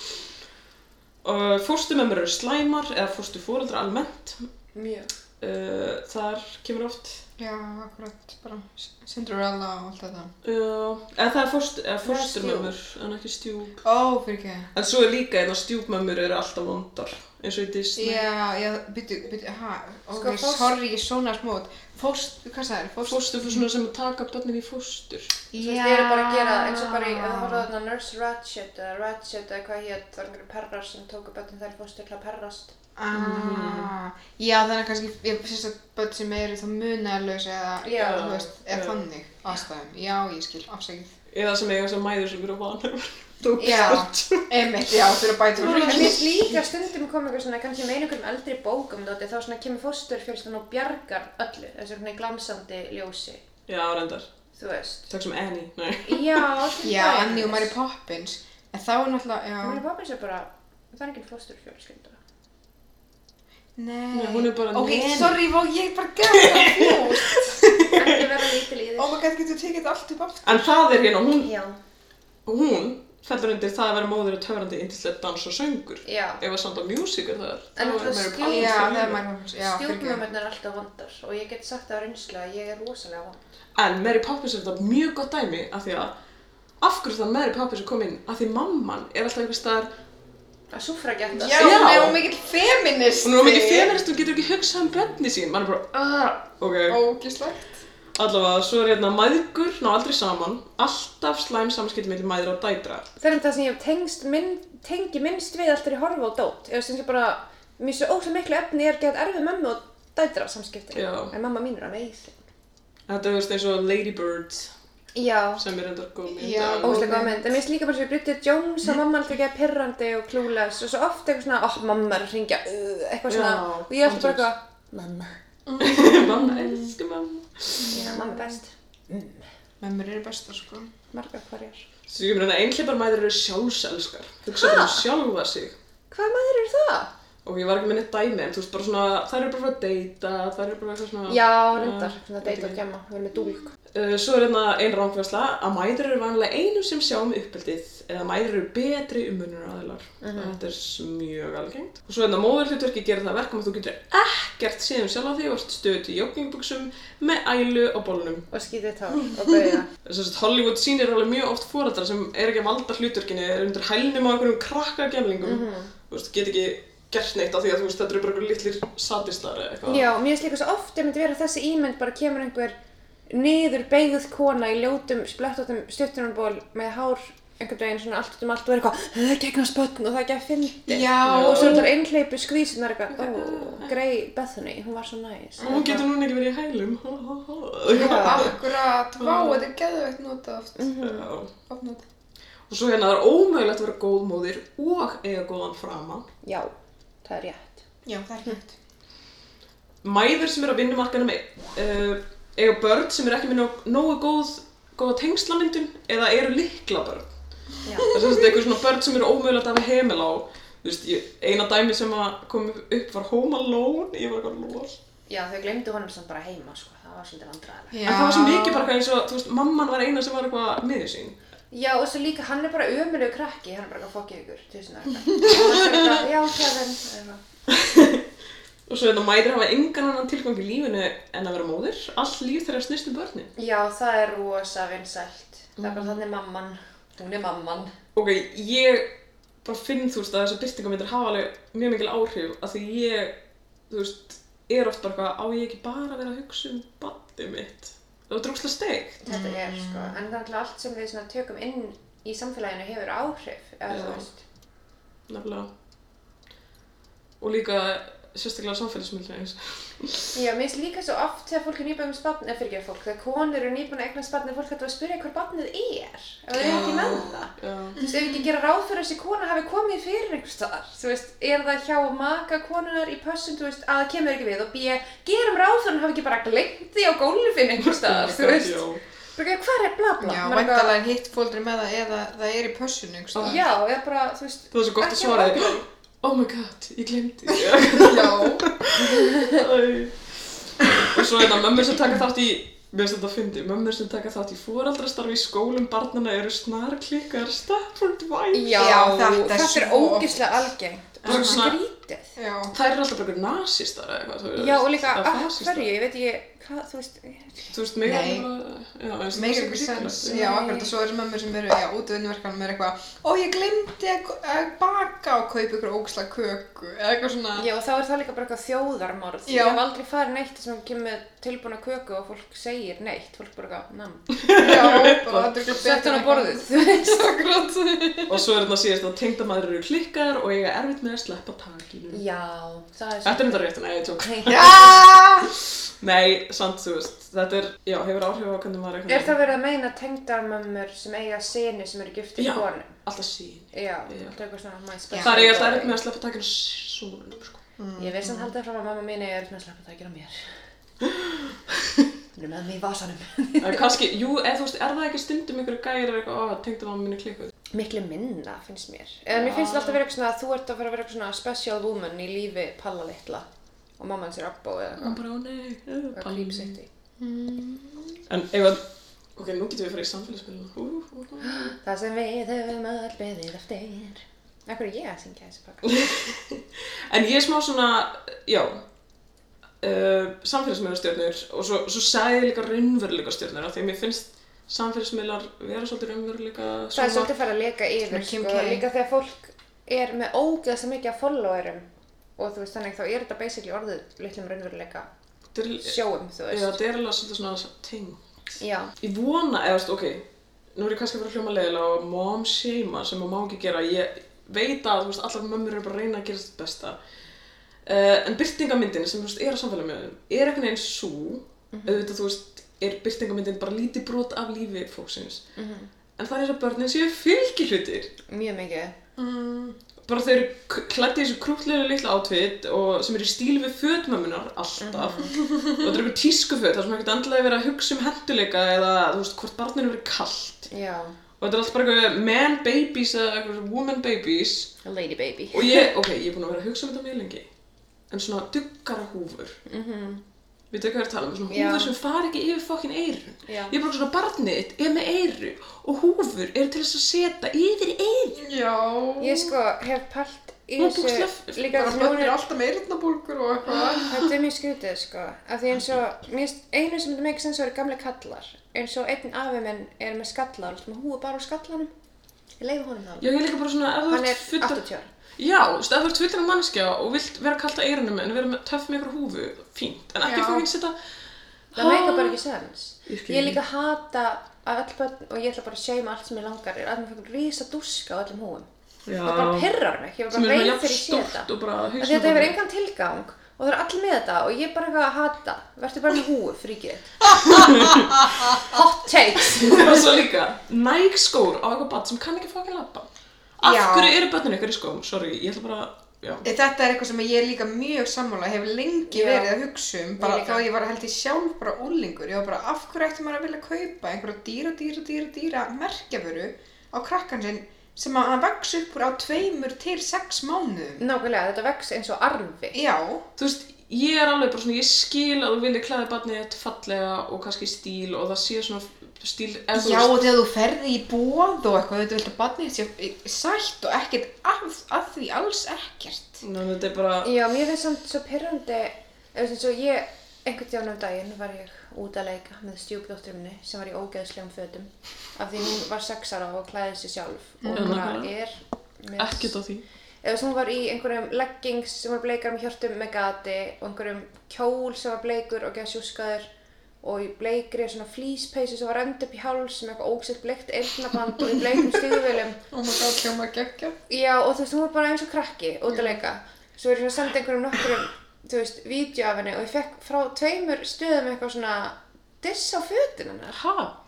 og fórstumömmur eru slæmar eða fórstu fóreldra almennt.
Mjög.
Uh, þar kemur oft.
Já, akkurat, bara S- Cinderella og allt þetta.
Uh, eða það er fórst, eða fórstumömmur,
stjúp.
en ekki stjúp.
Ó, fyrir ekki.
En svo er líka einn að stjúpmömmur eru alltaf vondar, eins og í Disney.
Já, já, byttu, byttu, ha, ok,
Sko, fórst-
sorry, ég svona smót. Fórst, hvað sagðið, fórst?
Fórstur fyrir svona sem að taka börnin í fórstur.
Þú veist, þið eru bara að gera eins og bara í, ef þú horfðu þarna Nurse Ratched eða Ratched eða hvað hétt, það var einhverju perrar sem tóku böttin þær fórstu til að perrast.
Ah, já, þannig að kannski, ég finnst að börn sem eru þá munalös eða,
Já.
þú veist, eða
Já.
þannig aðstæðum. Já, ég skil, afsækið.
Eða sem eiga sem mæður sem eru vanhefur.
Já,
Dópistar.
einmitt, já, þú eru bætið
En mér finnst líka stundum kom eitthvað svona, kannski með einhverjum eldri bókum þótti, þá svona kemur fórstur fjölstan og bjargar öllu, þessu svona í glansandi ljósi,
Já, reyndar.
þú veist.
Takk sem Annie. Nei.
Já, til
Já,
dæmis.
Annie og Mary Poppins. En þá er náttúrulega, já,
Mary Poppins er bara, það er ekki fórstur fjölskylda.
nei.
Nei, hún er bara
Ok,
neni.
sorry, vó, ég er bara gæta fjóst.
Ekki vera lítil í
Oh
þess.
my god, getur þú tekið þetta allt upp aftur?
En það er hérna, hún,
Já.
hún fellur undir það að vera móður og töfrandi indislegt dans og söngur.
Já.
Ef að samt á musical það er.
En
þá er
það
Mary
skil-
Poppins
Já,
fyrir
það er
mér.
Mary Poppins, já, fyrir ekki.
Stjórnumöndin er alltaf vondar og ég get sagt það á reynslu að ég er rosalega vond.
En Mary Poppins er þetta mjög gott dæmi af því að af hverju þann Mary Poppins er komin af því mamman er alltaf einhvers staðar
Að súfra ekki alltaf.
Já,
Já.
hún er hún mikill feministi.
hún er of mikið feminist og getur ekki hugsað um bönni sín mann er bara "Ah, ok
Ógislegt.
allavega svo er hérna mæðgur ná aldrei saman alltaf slæm samskipti mellir mæður og dætra
Það er um það sem ég tengst, minn, tengi minnst við alltaf í horfa á dót. Ég finnst bara, mér finnst svo óslega miklu efni er gett erfið mömmu og dætra samskipti.
Já.
En mamma mín er að veið.
þetta er veist eins og Lady Bird
Já.
sem er endar góð mynd
Já.
en-
Óslega góð mynd. En mér finnst líka bara svo Bridget Jones og mamma alltaf ekki að pirrandi og klúles og svo oft eitthvað svona, oh mamma er að ringja, uh, eitthvað svona.
Já,
og ég er alltaf bara
andjóks.
eitthvað, mamma.
mamma, elsku mamma
Já, mamma er best.
Mömmur eru bestar, sko.
Marga hverjar.
svo ég meina einhleipar mæður eru sjálfselskar hugsa bara um sjálfa sig
Hvað maður eru það?
og ég var ekki með neitt dæmi en þú veist bara svona þær eru bara að deyta þær eru bara eitthvað svona
Já, reyndar. Svona
veit
date
ekki.
og gemma. Við erum með dúlk.
Uh, svo er hérna einn rángfærsla að mæður eru vanlega einum sem sjá um uppeldið eða mæður eru betri ummunar aðilar.
Mhm.
Þetta er mjög algengt. Og svo hérna móður hlutverki gerir það að verkum að þú getur ekkert séð um sjálf á því og ert stöðut í joggingbuksum með ælu á bólunum.
og skítið tár og bauða.
Þess að Hollywood sýnir alveg mjög oft fórættar sem er ekki að valda hlutverkinu, er undir hælnum á einhverjum krakka gemlingum. Þú veist, get ekki gert neitt á því að þú veist, þetta eru bara einhverjum litlir sadistar eða eitthvað.
Já, mér finnst líka svo oft einmitt vera þessi ímynd bara kemur einhver niður beigðuð kona í ljótum splettóttum stuttunarból með hár einhvern veginn svona allt út um allt og er eitthvað "Það er gegna spötn og það er ekki að fyndi
Já.
og svo er þetta einhleipu skvísunar eitthvað ó, grei Bethany, hún var svo næs
Og hún getur núna ekki verið í hælum.
Já. Mm.
Akkurat, vá, þetta er geðveikt nota oft.
Já.
Oft nota.
Og svo hérna það er ómögulegt að vera góð móðir og eiga góðan frama.
Já, það er rétt
Já, það er hægt.
Mæður sem eru á vinnumarkanum uh, eiga börn sem eru ekki með nóg, nógu góð, góða tengslamyndun eða eru líkla börn.
Já.
Það er sem sagt einhver svona börn sem eru ómögulegt að hafa heimil á. Þú veist, ég, eina dæmi sem að kom upp var Home Alone, ég var eitthvað lól.
Já, þau glemdu honum samt bara heima sko, það var svolítið vandræðilega
En það var svo mikið bara eitthvað eins og, þú veist, mamman var eina sem var eitthvað miður sín.
Já, og svo líka, hann er bara ömulegu krakki, hann er bara eitthvað fokkið ykkur, tusinar eitthvað Já, Kevin, eitthvað
Og svo hérna mæður hafa engan annan tilgang í lífinu en að vera móðir. Allt líf þeirra snýst um börnin.
Já, það er rosa vinsælt. Það er bara
Mm.
þannig mamman. Hún er mamman.
ok, ég bara finn, þú veist, að þessar byrtingamyndir hafa alveg mjög mikil áhrif að því ég, þú veist, er oft bara eitthvað, á ég ekki bara að vera að hugsa um bandið mitt. Það var drúkslega steikt. Mm.
Þetta er sko. En það er náttúrulega allt sem við svona tökum inn í samfélaginu hefur áhrif eða þú
Já.
veist
nefnilega. Og líka sérstaklega samfélagsmyndlega eins.
Já, mér finnst líka svo oft þegar fólk er nýbúin með barn, eða fyrir ekki fólk, þegar konur eru nýbúin að eignast barn, er fólk hættur að spyrja hver barnið er, ef það er ekki með það.
Já.
Þú veist, ef ekki gera ráð fyrir að þessi kona hafi komið fyrir einhvers staðar, þú veist, er það hjá maka konunar í pössun, þú veist, að það kemur ekki við og b, gerum ráð fyrir að hún hafi ekki bara gleymt því á gólfin einhvers staðar, þú veist,
Já.
bara hvað er bla bla,
Já,
Maður er
væntalega er hitt fóldri með það eða það er í pössun einhvers
bara-
staðar.
já, eða bara, þú veist,
Það var svo gott að
Ekki
svara því.
ákveðið.
Oh my god, ég glemdi.
Já.
Æ. og svo þetta, mömmur sem taka þátt í, mér finnst þetta að fyndi, mömmur sem taka þátt í fóreldrastarfi í skólum barnana eru snarklikkar Stafford Wives.
já,
þetta er
þetta er
svo oft.
ógeðslega algengt,
Bara
bara
svona-
skrítið.
Já.
Þær eru alltaf bara einhver nasistar eða eitthvað, þú veist.
Já, og líka,
eða
af
fasistar.
hverju, ég veit ekki, hvað, þú veist,
Þú veist, hérna, mig
Nei.
alveg...
Meir ykkur sens.
Nei.
Já, akkurat. Og svo eru mömmur sem eru, já, út í vinnuverkanum eru eitthvað, ó, ég glemdi að að baka og kaupa ykkur óksla köku. Eða eitthvað svona.
Já, og þá er það líka bara eitthvað þjóðarmorð.
Já.
Ég hef aldrei farið neitt sem kemur með tilbúna köku og fólk segir neitt. Fólk bara eitthvað, nam,
Já, bara þetta er ekki
sett hann á borðið, þú veist.
Akkurat.
Og svo er þetta síðast að tengdamaður eru klikkar og eiga erfitt með að sleppa takinu.
Já, það er
Þetta er þetta rétt, nei, ég tjók.
svo.
Já.
Nei, samt, þú veist, þetta er, já, hefur áhrif á hvernig maður
Er það verið að meina tengdarmömmur sem eiga sinni sem eru giftið
Já.
í konum?
Alltaf sín.
Já,
Já.
þetta er eitthvað svona my
Já.
special
Það er eiga alltaf
boy.
erfitt með að sleppa takinu svona, sko.
Ég veist að halda fram að mamma mín eiga erfitt með að sleppa það að gera mér. Hún er með mig í vasanum.
Það er kannski, jú, eða þú veist, er það ekki stundum ykkur gæri eða eitthvað, ó, tengdu mamma minni klikkuð.
Miklu minna finnst mér. Eða mér finnst alltaf verið eitthvað svona að þú ert að fara að vera eitthvað svona special woman í lífi palla litla og mamma hans er abbó eða eitthvað.
Og bara, ó nei, eða,
Það er klípsitt í.
En ef að, ok, nú getum við farið í samfélagsmiðluna. Ú, ú, ú.
Það sem við höfum öll beðið eftir. Akkur er ég að syngja þessi pakka?
En ég er smá svona, já, uh, samfélagsmiðlastjörnur og svo, svo sagði ég líka raunveruleika stjörnur af því að mér finnst samfélagsmiðlar vera svolítið raunveruleika
Það er svolítið farið að leka yfir,
Svona Kim
sko,
K.
líka þegar fólk er með ógeða sem mikið af followerum og þú veist þannig þá er þetta basically orðið litlum raunveruleika
sjóðust.
sjóum, þú
Já,
veist.
það er alveg svolítið svona ting.
Já,
Ég vona, eða þú veist, ok, nú er ég kannski að vera hljóma leiðilega og mom shama sem maður má ekki gera. Ég veit að, þú veist, allar mömmur eru bara að reyna að gera sitt besta. Uh, en byrtingamyndin sem, þú veist, er á samfélagsmiðlum er einhvern veginn svo, auðvitað, þú veist, er byrtingamyndin bara lítið brot af lífi fólksins. En það er að börnin séu fylgihlutir.
mjög mikið.
Mm.
Bara þau eru klætt í þessu krútlega litla átfitt og sem eru í stíl við fötmömmunar alltaf.
Mhm.
og þetta er eitthvað tískuföt, þar sem ekkert endilega verið að hugsa um henduleika eða, þú veist, hvort barninu verið kalt
Já,
og þetta er alltaf bara eitthvað man babies eða eitthvað woman babies
lady baby.
og ég, ok, ég er búin að vera að hugsa um þetta mjög lengi en svona duggara húfur mm -hmm. við tökum að tala um svona
Mhm. Já.
húfur sem fara ekki yfir fokkin eirun
Já.
ég er bara svona barnið þitt er með eiru og húfur eru til þess að setja yfir eiru
Já.
Ég sko hef pælt í
Hún
þessu
bókstaf-
líka
Bara
því
börn
hún
eru
er
alltaf með eyrnabólgur og eitthvað.
Þetta er mjög skrítið, sko, af því eins og, mér finnst- einu sem þetta make sense eru gamli kallar, eins og einn afi minn er með skallar, alltaf með húi bara á skallanum, ég leiði honum það.
já, ég er líka bara svona ef þú
Hann er
ert fullur
80 ára.
já, þú veist, ef þú ert fullur mannskja og vilt vera kalt að eirunum en vera með, töff með eitthvað húfu fínt, en ekki
Já.
fokkin setja
Það meika bara ekki sens.
Ég skil
Ég líka hata að öll börn og ég ætla bara að seima allt sem ég langar, er að mér fyrir rísa dúska á öllum húum.
já,
Það bara pirrar mig, ég var
sem er
bara
bara
reyð
jafn
þegar ég sé
stort
þetta.
og bara
Af því Þetta hefur engan tilgang og það er allir með þetta og ég er bara eitthvað að hata. Vertu bara með húi, fríkið. Hot takes.
og svo líka Nike skór á eitthvað barn sem kann ekki fokkin lappa af
Já.
hverju eru börnin ykkur í skóm sorry, ég ætla bara já.
Eh, Þetta er eitthvað sem ég er líka mjög sammála, hef lengi
Já.
verið að hugsa um, bara
Ég líka.
þá ég var að held ég sjálf bara úlingur, ég var bara af hverju ætti maður að vilja kaupa einhverja dýra, dýra, dýra, dýra merkjaföru á krakkan sinn sem að hann vex upp úr á tveimur til sex mánuðum.
Nákvæmlega, þetta vex eins og arfi.
Já,
þú veist, ég er alveg bara svona ég skil að þú vilja klæða barnið þetta fallega og kannski stíl og það sé svona stíl eða þú
já
veist,
og þegar þú ferði í bóð og eitthvað, þetta viltu að barnið sé eh, sætt og ekkert af, að því alls ekkert.
ná, þetta er bara
Já, mér finnst samt svo pirrandi, eða eins og ég, einhvern tíðan um daginn var ég út að leika með stjúpdóttur minni sem var í ógeðslegum fötum af því hún var sex ára og klæði sig sjálf og
Mhm.
bara er með...
ekkert á því
Eða þess að hún var í einhverjum leggings sem var bleikar með hjörtum með gati og einhverjum kjól sem var bleikur og geða sjúskaður og í bleikri svona flýspeysu sem var rönd upp í háls með eitthvað ógsilt bleikt eyrnaband og í bleikum stíguvélum
Oh my god, hljóma geggja.
Já, og þú veist, hún var bara eins og krakki út að leika. Svo er ég svona að senda einhverjum nokkurum, þú veist, vídeo af henni og ég fekk frá tveimur stöðum eitthvað svona diss á fötin hennar.
Ha?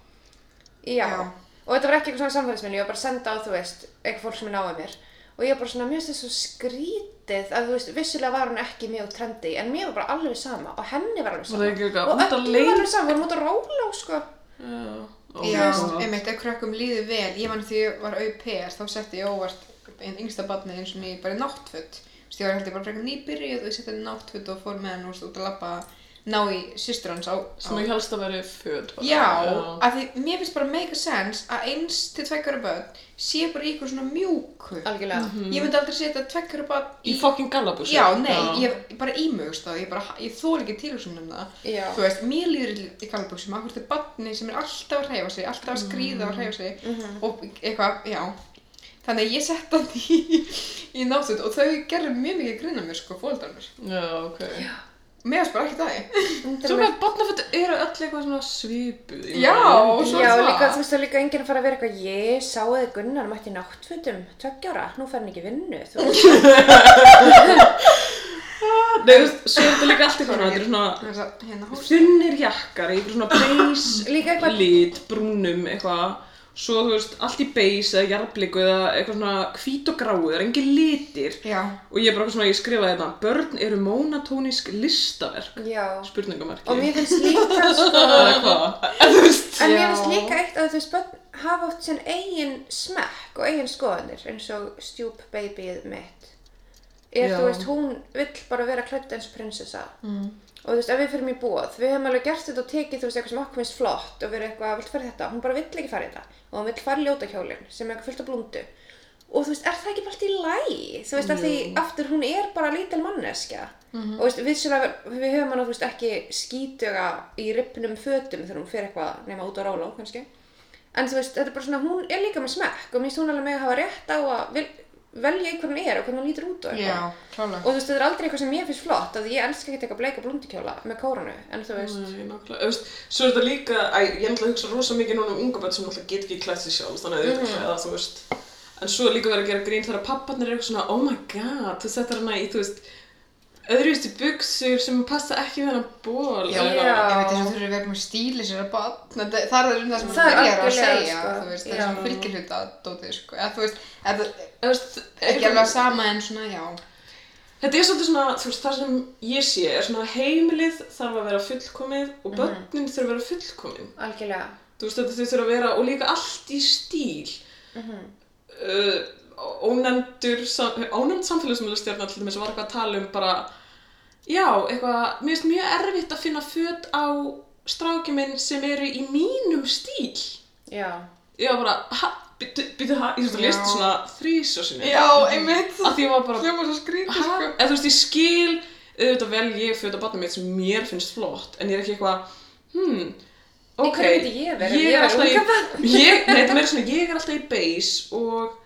Já.
Já.
Og þetta var ekki eitthvað svona samfélagsminni, ég var bara að senda á, þú veist, eitthvað fólk sem er náðið mér. Og ég var bara svona, mér finnst það svo skrítið að, þú veist, vissulega var hún ekki mjög trendy, en mér var bara alveg sama og henni var alveg
Var
sama.
það ekki eitthvað
og
út að
öllum
leik-
var alveg sama, vorum út að róla, sko.
Já. Ó,
Já,
já.
einmitt, ef krökkum líður vel, ég man því ég var au-pair, þá setti ég óvart einn yngsta barnið eins og ný bara í náttföt. Þú veist, ég var held ég bara frekar nýbyrjuð og ég setti henni í náttföt og fór með henni úst, út að labba ná í systur hans á... á-
Sem ekki helst að veri föt. bara.
Já, af því mér finnst bara make a sense að eins til tveggjara börn sé bara í ykkur svona mjúku.
Algjörlega.
Ég myndi aldrei setja tveggjara börn
Í fokkin gallabúsi.
Já, nei, ég ég bara ímugst það, ég, bara- ég þól ekki tilhugsunum um það.
Já.
Þú veist, mér líður í, í gallabuxum, akkur þetta er barni sem er alltaf að hreyfa sig, alltaf að skríða og hreyfa sig
Mhm.
og eitthvað, já. Þannig að ég sett hann í, í náttúrulega og þau gerðu mjög mikið grunna mér, sko, fóldarnir.
Já, ok.
Mér varst bara ekki það.
Þetta
Svo
er
með botnafötu eru öll eitthvað svona svipuð. ég
Já,
meina.
svo
Já,
er það.
líka, þú veist, það er líka enginn að fara að vera eitthvað, ég sá þið Gunnar mætti í náttfötum, tveggjára, nú fer hann ekki í vinnu, þú veist.
Nei, þú veist, svo er þetta líka allt eitthvað, þetta er svona
Þess að, hérna, hús.
þunnir jakkar, í einhver svona beige
Líka eitthvað-
lit, brúnum eitthvað svo þú veist, allt í beige eða jarbliku eða eitthvað svona hvít og gráu, það er engin litir
Já.
og ég er bara eitthvað svona, ég skrifaði þetta börn eru mónatónísk listaverk
Já.
spurningamarki
Og mér finnst líka, sko,
eða hvað, en þú veist
en mér
Já.
finnst líka eitt að þú veist, börn hafa oft sinn eigin smekk og eigin skoðanir, eins og stjúp babyið mitt. Er,
Já.
þú veist, hún vill bara vera klædd eins og prinsessa. Mm. Og þú veist, ef við fyrir mér búið, við hefum alveg gert þetta og tekið, þú veist, eitthvað sem okkur finnst flott og verið eitthvað, vilt fara í þetta, hún bara vill ekki fara í þetta. Og hún vill fara í ljóta hjólinn sem er eitthvað fullt af blúndu. Og þú veist, er það ekki bara allt í lægi? Þú veist, af því aftur hún er bara lítil manneskja. Og þú veist, við, sérlega, við höfum hana, þú veist, ekki skítuga í ripnum fötum þegar hún fer eitthvað nema út á róla, kannski. En þú veist, þetta er bara svona, hún er líka með smekk og mér finnst hún alveg með að hafa rétt á að vel, velja í hvernig hún er og hvernig hún lítur út og eitthvað.
Já, klálega.
Og þú veist, þetta er aldrei eitthvað sem mér finnst flott, að ég elska ekki eitthvað bleika blúndikjóla með kórunu, en þú veist,
Nei, nákvæmlega. Þú veist, Svo er þetta líka, æ, ég er náttúrulega að hugsa rosa mikið núna um unga börn sem náttúrulega get ekki klætt sér sjálf, þannig að mm. eða, þú veist. En svo er líka verið að gera grín þegar papparnir eru eitthvað svona, oh my god, þú settar hana í, þú veist, öðruvísti buksur sem passa ekki við hennar ból.
Já,
Já.
ég veit þess að þú þurfir að vera með stíli sér að batna, það er um það sem
Það
það
er
er að
algjörlega,
segja,
sko.
þú veist,
Já.
það er fylgir hluta dótið, sko, eða þú veist, eða,
Þú veist,
ekki alveg sama en svona, já,
Þetta er svolítið svona, þú veist, það sem ég sé er svona heimilið þarf að vera fullkomið
Mhm.
og börnin þurfa að vera fullkomin.
algjörlega.
Þú veist, þetta þau þurfa að vera, og líka allt í stíl.
Mhm.
uh, ónefndur sam- ónefnd samfélagsmiðlustjarnar til dæmis var eitthvað að tala um bara já, eitthvað, mér finnst mjög erfitt að finna föt á strákjuminn sem eru í mínum stíl
Já.
ég var bara, ha, byrju, byrju, ha ég þú
Já.
veist, list svona þrísa sinni
já, einmitt,
að því ég var bara,
hljóma svo skrítið,
ha,
sko,
eða þú veist, ég skil auðvitað vel ég föt á batna mitt sem mér finnst flott, en ég er ekki eitthvað hmm,
Í
ok,
hverju myndi ég vera ef
ég
ég
er
væri
alltaf
unga
í, ég, nei, þetta er meira svona, ég er alltaf í beige og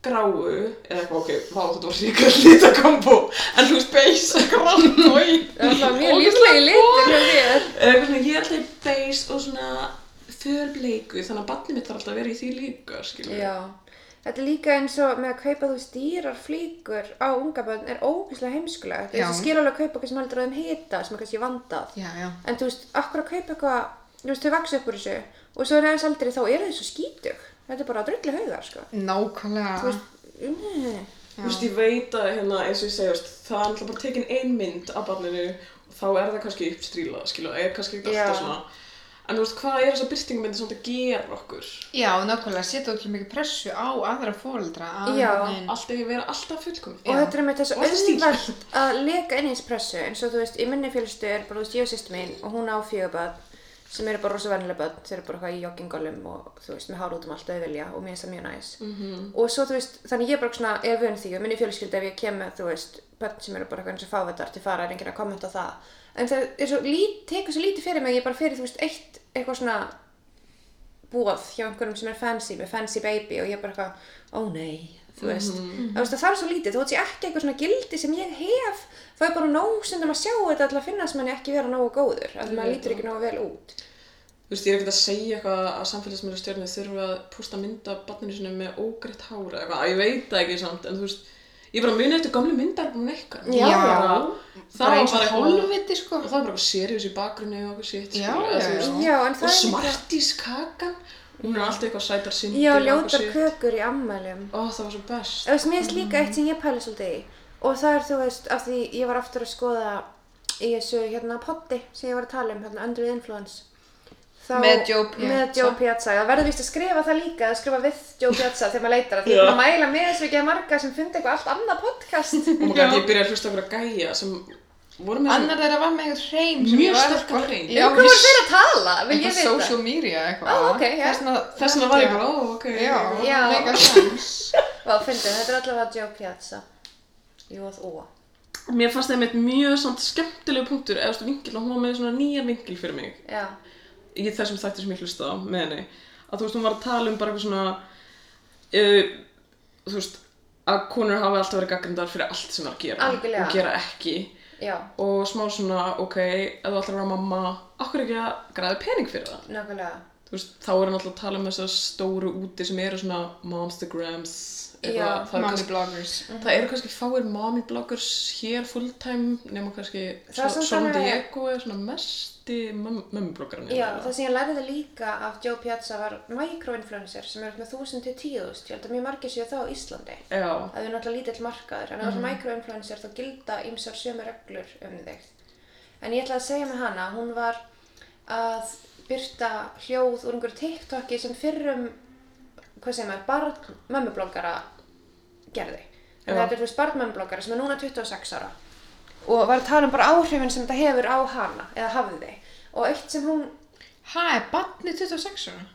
gráu, eða eitthvað, ok, vá, þetta var ríkar litakombo, en þú veist, beige og gráu, og ég,
Það er alltaf mjög lífslegi litur hjá þér.
eða eitthvað svona, ég er alltaf í beige og svona förbleiku, þannig að barnið mitt þarf alltaf að vera í því líka, skilur
Já. Þetta er líka eins og með að kaupa þú veist dýrar flíkur á unga börn er ógeðslega heimskulegt. Þú veist,
Já.
ég skil alveg að kaupa eitthvað sem heldur að þeim hita, sem er kannski vandað.
já, já,
En þú veist, akkur að kaupa eitthvað, þú veist, þau vaks upp úr þessu og svo er aðeins aldrei þá eru þau svo skítug. Þetta er bara að drullu haugar, sko.
nákvæmlega,
Mm.
Já.
Þú veist, ég veit að hérna, eins og ég segjast, það er alltaf bara tekin ein mynd af barninu og þá er það kannski uppstrílað, skilja, er kannski ekki
Já.
alltaf svona. En þú veist, hvað er þessa byrtingamyndi samt að gera okkur?
já, nákvæmlega, setja okkur mikið pressu á aðra fóreldra, að,
Já.
nein,
Allt ekki vera alltaf fullkomin.
Og þetta er með þess
Og þetta er stíll.
auðvægt að leka inn í þessu pressu eins og þú veist, í minni fjölstu er bara, þú veist, ég og sýstu mín og hún á fjögaböð sem eru bara rosa vennilega börn, þeir eru bara eitthvað í joggingolum og þú veist, með hár út um allt að þau vilja og mér finnst það mjög næs. -hmm.
Mhm.
Og svo þú veist, þannig ég er bara svona, er vun því og minni fjölskyldu ef ég kem með, þú veist, börn sem eru bara eitthvað eins og fávetar til fara er enginn að kommenta á það. En það er svo lít, tekur svo lítið fyrir mig, að ég bara fyrir, þú veist, eitt eitthvað svona bóð hjá einhverjum sem er fancy með fancy baby og ég er bara eitthvað, ó nei þú veist, þú veist að það er svo lítið þú veist ég ekki eitthvað svona gildi sem ég hef þá er bara nóg stundum að sjá þetta til að finnast manni ekki vera nógu góður, að maður lítur ekki nógu vel út
Þú veist, ég er ekkert að segja eitthvað að samfélagsmiðlastjörni þurfa að pústa mynda barninu sinni með ógreitt hár eða eitthvað, ég veit það ekki samt, en þú veist, ég bara muni eftir gamlu myndarbúin eitthvað.
Já.
Bara, það
bara
var
eins
bara
og
hálfi,
hólviti sko
það var bara eitthvað seriðs í bakgrunni og eitthvað sitt,
Já,
skilur, eða þú
já,
veist.
já, en það
Og
er líka-
smartís kakan, hún er alltaf eitthvað sætar syndir
já,
og eitthvað
ljótar
sitt.
kökur í ammælum
Ó, það var svo best.
Þú veist, mér finnst líka eitt sem ég pæla svolítið í og það er, þú veist, af því ég var aftur að skoða í þessu hérna poddi sem ég var að tala um, hérna Under the Influence þá,
Með Joe Piazza.
með Joe Piazza. Það verður víst að skrifa það líka, að skrifa við Joe Piazza þegar maður leitar að því að mæla með þessu ekki að marga sem fundi eitthvað allt annað podcast Um
Og maður gæti, Oh ég byrja að hlusta okkur að gæja sem voru með
annar þeirra var með einhvern hreim sem
Mjög
ég var- sko-
sterkan hreim.
já,
um hvað voru þeir að tala, vil ég
eitthvað
vita
social media eitthvað
Ó, ok, já.
þessna,
Þess vegna var ég bara, ó, ok.
já,
Já.
mega sens
Vá, fyndið, þetta er allavega Joe Piazza Jú að óa
Mér fannst það einmitt mjög samt skemmtilegu punktur, eða þú veist, vinkil, og hún var með svona nýja vinkil fyrir mig.
Já,
í þessum þætti sem ég hlusta á með henni að þú veist, hún var að tala um bara eitthvað svona uh, þú veist að konur hafi alltaf verið gaggrindar fyrir allt sem það er að gera
Algjörlega.
og gera ekki
já,
og smá svona, ok, ef þú ætlar að vera mamma okkur ekki að græða pening fyrir það
nákvæmlega
þú veist, þá er hann alltaf að tala um þessar stóru úti sem eru svona momstagrams
Já,
eitthvað, það eru
mommy
kannski,
bloggers
það eru kannski fáir mommy bloggers hér fulltime nema kannski
Það er
Sol-
samt
Solon
alveg-
Diego er svona mesti mömmu bloggarinn
Já, það sem ég læriði líka af Joe Piazza var microinfluencer sem eru með 1000 til 10.000, ég held að mjög margir séu þá á Íslandi.
Já,
Það er náttúrulega lítill markaður, en á þessum microinfluencer þá gilda ýmsar sömu reglur um þig. En ég ætlaði að segja með hana, hún var að byrta hljóð úr einhverju TikToki sem fyrrum, hvað segir maður, barn mömmubloggara gerði. En
Já.
þetta er þú veist barn mömmubloggara sem er núna 26 ára og var að tala um bara áhrifin sem þetta hefur á hana eða hafði. Og eitt sem hún
hæ, barni 26 ára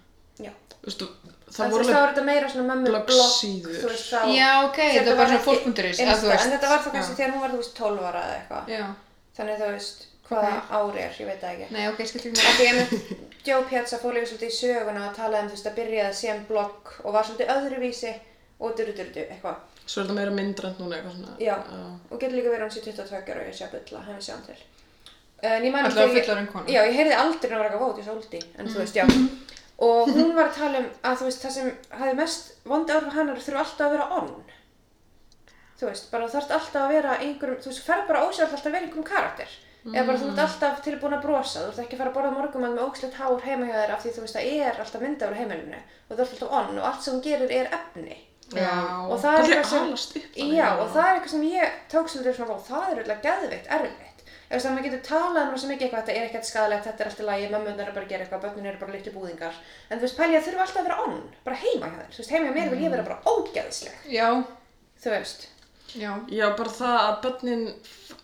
Já,
Þú veist, það
það
voru
voru þá
alveg
er þetta meira svona mömmu blogg,
Bloggsíður.
þú veist þá
Já, ok,
þegar
þetta var bara
ekki
svona fólk.is, eða þú
Insta,
veist.
En þetta var þá kannski
Já.
þegar hún var, þú veist, 12 ára eða eitthvað
já,
Þannig þú veist, hvaða
Ok.
ári er, ég veit það ekki
nei, ok, skilur ekki
Af því ég mynd, Joe Piazza fór líka svolítið í söguna og talaði um þú veist að byrjaði sem blogg og var svolítið öðruvísi og duru duru duru, eitthvað
Svo er þetta meira myndrænt núna eitthvað svona
Já, og getur líka verið hún sér 22 ára og ég sé að bulla, hann sé hann til En ég man
Allavega
ekki-
fullorðin kona.
Já, ég heyrði aldrei að vera eitthvað vót, ég sóldi, en þú veist, já Og hún var að tala um að þú veist, það sem hafði mest vondi áhrif á hennar þurfa alltaf að vera on Þú veist, bara þú þarft alltaf að vera einhverjum, þú veist, þú ferð bara ósjálf alltaf að vera einhverjum karakter Eða bara þú ert alltaf tilbúin að brosa, þú ert ekki að fara að borða morgumann með ógslætt hár heima hjá þér af því þú veist, það er alltaf myndafur heimilinu og þú ert alltaf on og allt sem hún gerir er efni og
já,
það er
Allir
eitthvað sem
alast upp þannig,
já,
já.
og það er eitthvað sem ég tók svolítið svona, "Vá, það er auðvitað geðveikt erfitt ef þess að maður getur talað um rosa mikið eitthvað þetta er ekkert skadalegt, þetta er allt í lagi, mömmunar er bara að gera eitthvað börnin eru bara litlu búðingar en þú veist, pæli að þurfa alltaf að vera onn, bara heima hjá þér þú veist, heima hjá mér vil ég vera bara ógeðsleg
já,
þú veist,
já,
Já, bara það að börnin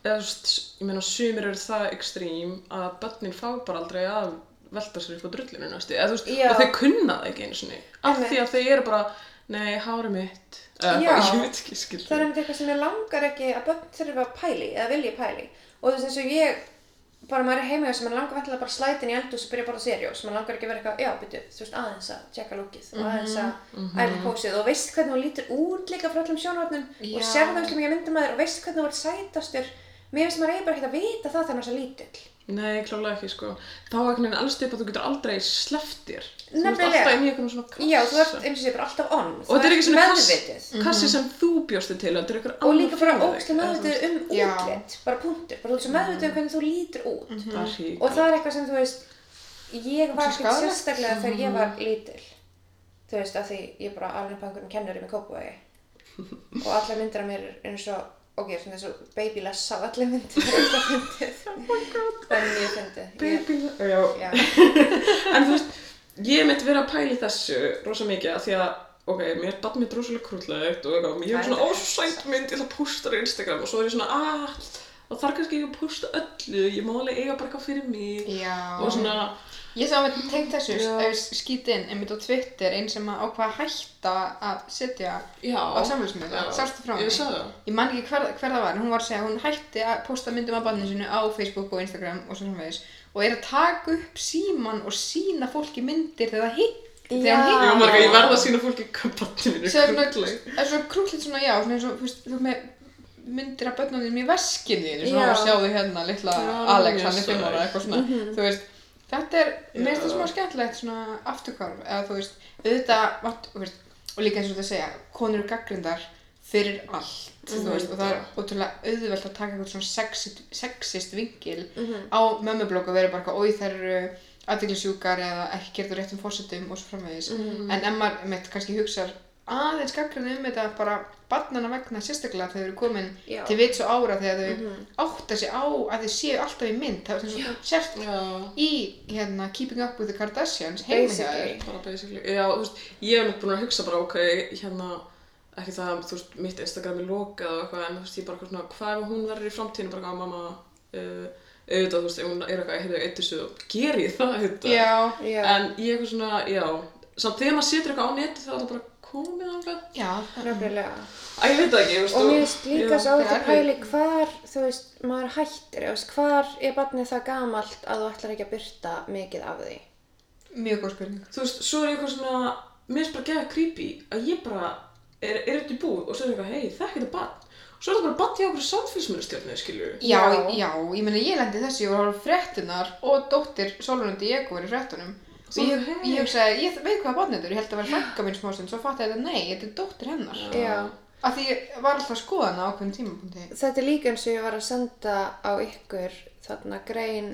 eða þú veist, ég meina sumir eru það ekstrím að börnin fá bara aldrei að velta sér upp á drullinu næstu eða þú veist,
Já.
og þau kunna það ekki einu sinni af
Einmitt.
því að þau eru bara, nei, hári mitt eða
Já.
bara, ég veit ekki, skil
það er einmitt eitthvað sem ég langar ekki að börn þurfa að pæli eða vilji pæli og þú veist, eins og ég bara maður er heima hjá sem maður langar vantilega bara slætin í eldhús og byrja bara seriós, maður langar ekki að vera eitthvað, já, byrju, þú veist, aðeins að tjekka lúkið og aðeins
Mhm,
að mm pósið og veist hvernig hún lítur út líka frá allum sjónvarnum og
Já.
sér það mikið myndum að þér og veist hvernig hún er sætastur mér finnst maður eigi bara ekki að vita það þegar maður er svo lítill
Nei, klálega ekki, sko þá er ekki neina alls upp að þú getur aldrei sleftir þú ert
Nefnilega.
alltaf inn í einhvern svona kassa
já, þú ert eins og sé bara alltaf on
og þetta er ekki svona
meðvitið
kass, kassi sem þú bjóstu til þetta er ykkur
og líka bara
ógst
ógstu meðvitið um
Já.
útlit bara punktur, bara þú ert svo meðvitið
Mhm.
um hvernig þú lítur út
um
Mhm. og það er eitthvað sem þú veist ég var
Hugsa
ekkert
skaðlegt. Mm.
sérstaklega þegar ég var lítil þú veist að því ég bara alveg upp á einhverjum kennurum í Kópavogi og allar myndir af mér eru eins og ok, svona eins og babyless á allar myndir það er alltaf fyndið
Oh
það er mjög fyndið Ég-
en
já,
þú veist ég mitt verið að pæli þessu rosa mikið af því að ok, mér er badmið rosalega krúllegt og eitthvað, ég hef
Það er
svona
þetta.
ósætt mynd ég ætla að posta á Instagram og svo er ég svona að það þarf kannski ekki að posta öllu ég má alveg eiga bara eitthvað fyrir mig
já
og svona,
Ég sá með tengt þessu,
Já.
ef ég skýt inn, einmitt á Twitter, einn sem að ákvað að hætta að setja
já
á samfélagsmiðla,
Já.
sástu frá
ég
henni?
sagði það
Ég man ekki hver, hver það var, en hún var að segja að hún hætti að posta myndum af barninu sinu á Facebook og Instagram og svo framvegis og er að taka upp síman og sína fólki myndir þegar það hitt Þegar hann
Já,
hittir-
marga, ég verða að sína fólki hvað barnið mínu
Ah. sem er
krúttleg.
svona krúllið svona, já, svona eins og, þú veist, þú ert með myndir af börnunum í veskinu þínu,
Já.
svona og sjáðu hérna litla
Já,
Alex,
mjög
hann er fimm ára,
sæt.
eitthvað svona, þú veist, þetta er, mér finnst
Já.
það smá skemmtilegt svona afturkvarf, eða þú veist, auðvitað, vat, þú veist, og líka eins og þetta segja, konur eru gaggrindar fyrir allt, þú veist, og það er ótrúlega auðvelt að taka eitthvað svona sexist, sexist vingil á mömmublokk og vera bara eitthvað, oi þær eru aðdeglisjúkar eða ekki gerðu réttum fórsetum og svo framvegis,
Mm.
en ef maður mitt kannski hugsar aðeins gaggrinu um þetta bara barnana vegna sérstaklega þegar þau eru komin
Já. Mhm.
til vits og ára þegar þau átta sig á að þau séu alltaf í mynd það er svona sért
Já,
í hérna Keeping Up with the Kardashians heima hjá
Basically.
þér
bara basically. Já, þú veist, ég hef mér búin að hugsa bara, ok, hérna, ekki það, að, þú veist, mitt Instagram er lokað og eitthvað, en þú veist, ég bara eitthvað svona, hvað ef hún verður í framtíðinu, bara að mamma, uh, auðvitað, þú veist, ef hún er eitthvað, ég hefði eittu svo, ger ég það, auðvitað.
já,
Já.
En ég eitthvað svona, já, samt þegar maður setur eitthvað á neti, þá er það bara komið ánlega.
já,
Nefnilega.
Æ, ég veit það ekki, þú veist,
Og mér finnst líka
já.
svo áhægt að
Það er
pæli hvar, þú veist, maður hættir, þú veist, hvar er barnið það gamalt að þú ætlar ekki að byrta mikið af því?
mjög góð spurning
þú veist, svo er ég eitthvað svona mér finnst bara geða creepy að ég bara er, er upp í búð og svo er eitthvað hei, þekk þetta barn og svo er þetta bara barn hjá okkur samfélsmyndustjörnu, skilju
já,
Já.
já, ég meina ég lendi þessu ég var að horfa á fréttinar og dóttir Solundi Diego var í fréttunum og
Svo,
ég,
hey.
ég hugsaði, ég veit hvað barnið þetta er, ég held að vera fænka mín smá stund, svo fatt ég þetta, nei, þetta er dóttir hennar
Já.
af því ég var alltaf að skoða hana á ákveðum tímapunkti
Þetta er líka eins og ég var að senda á ykkur þarna grein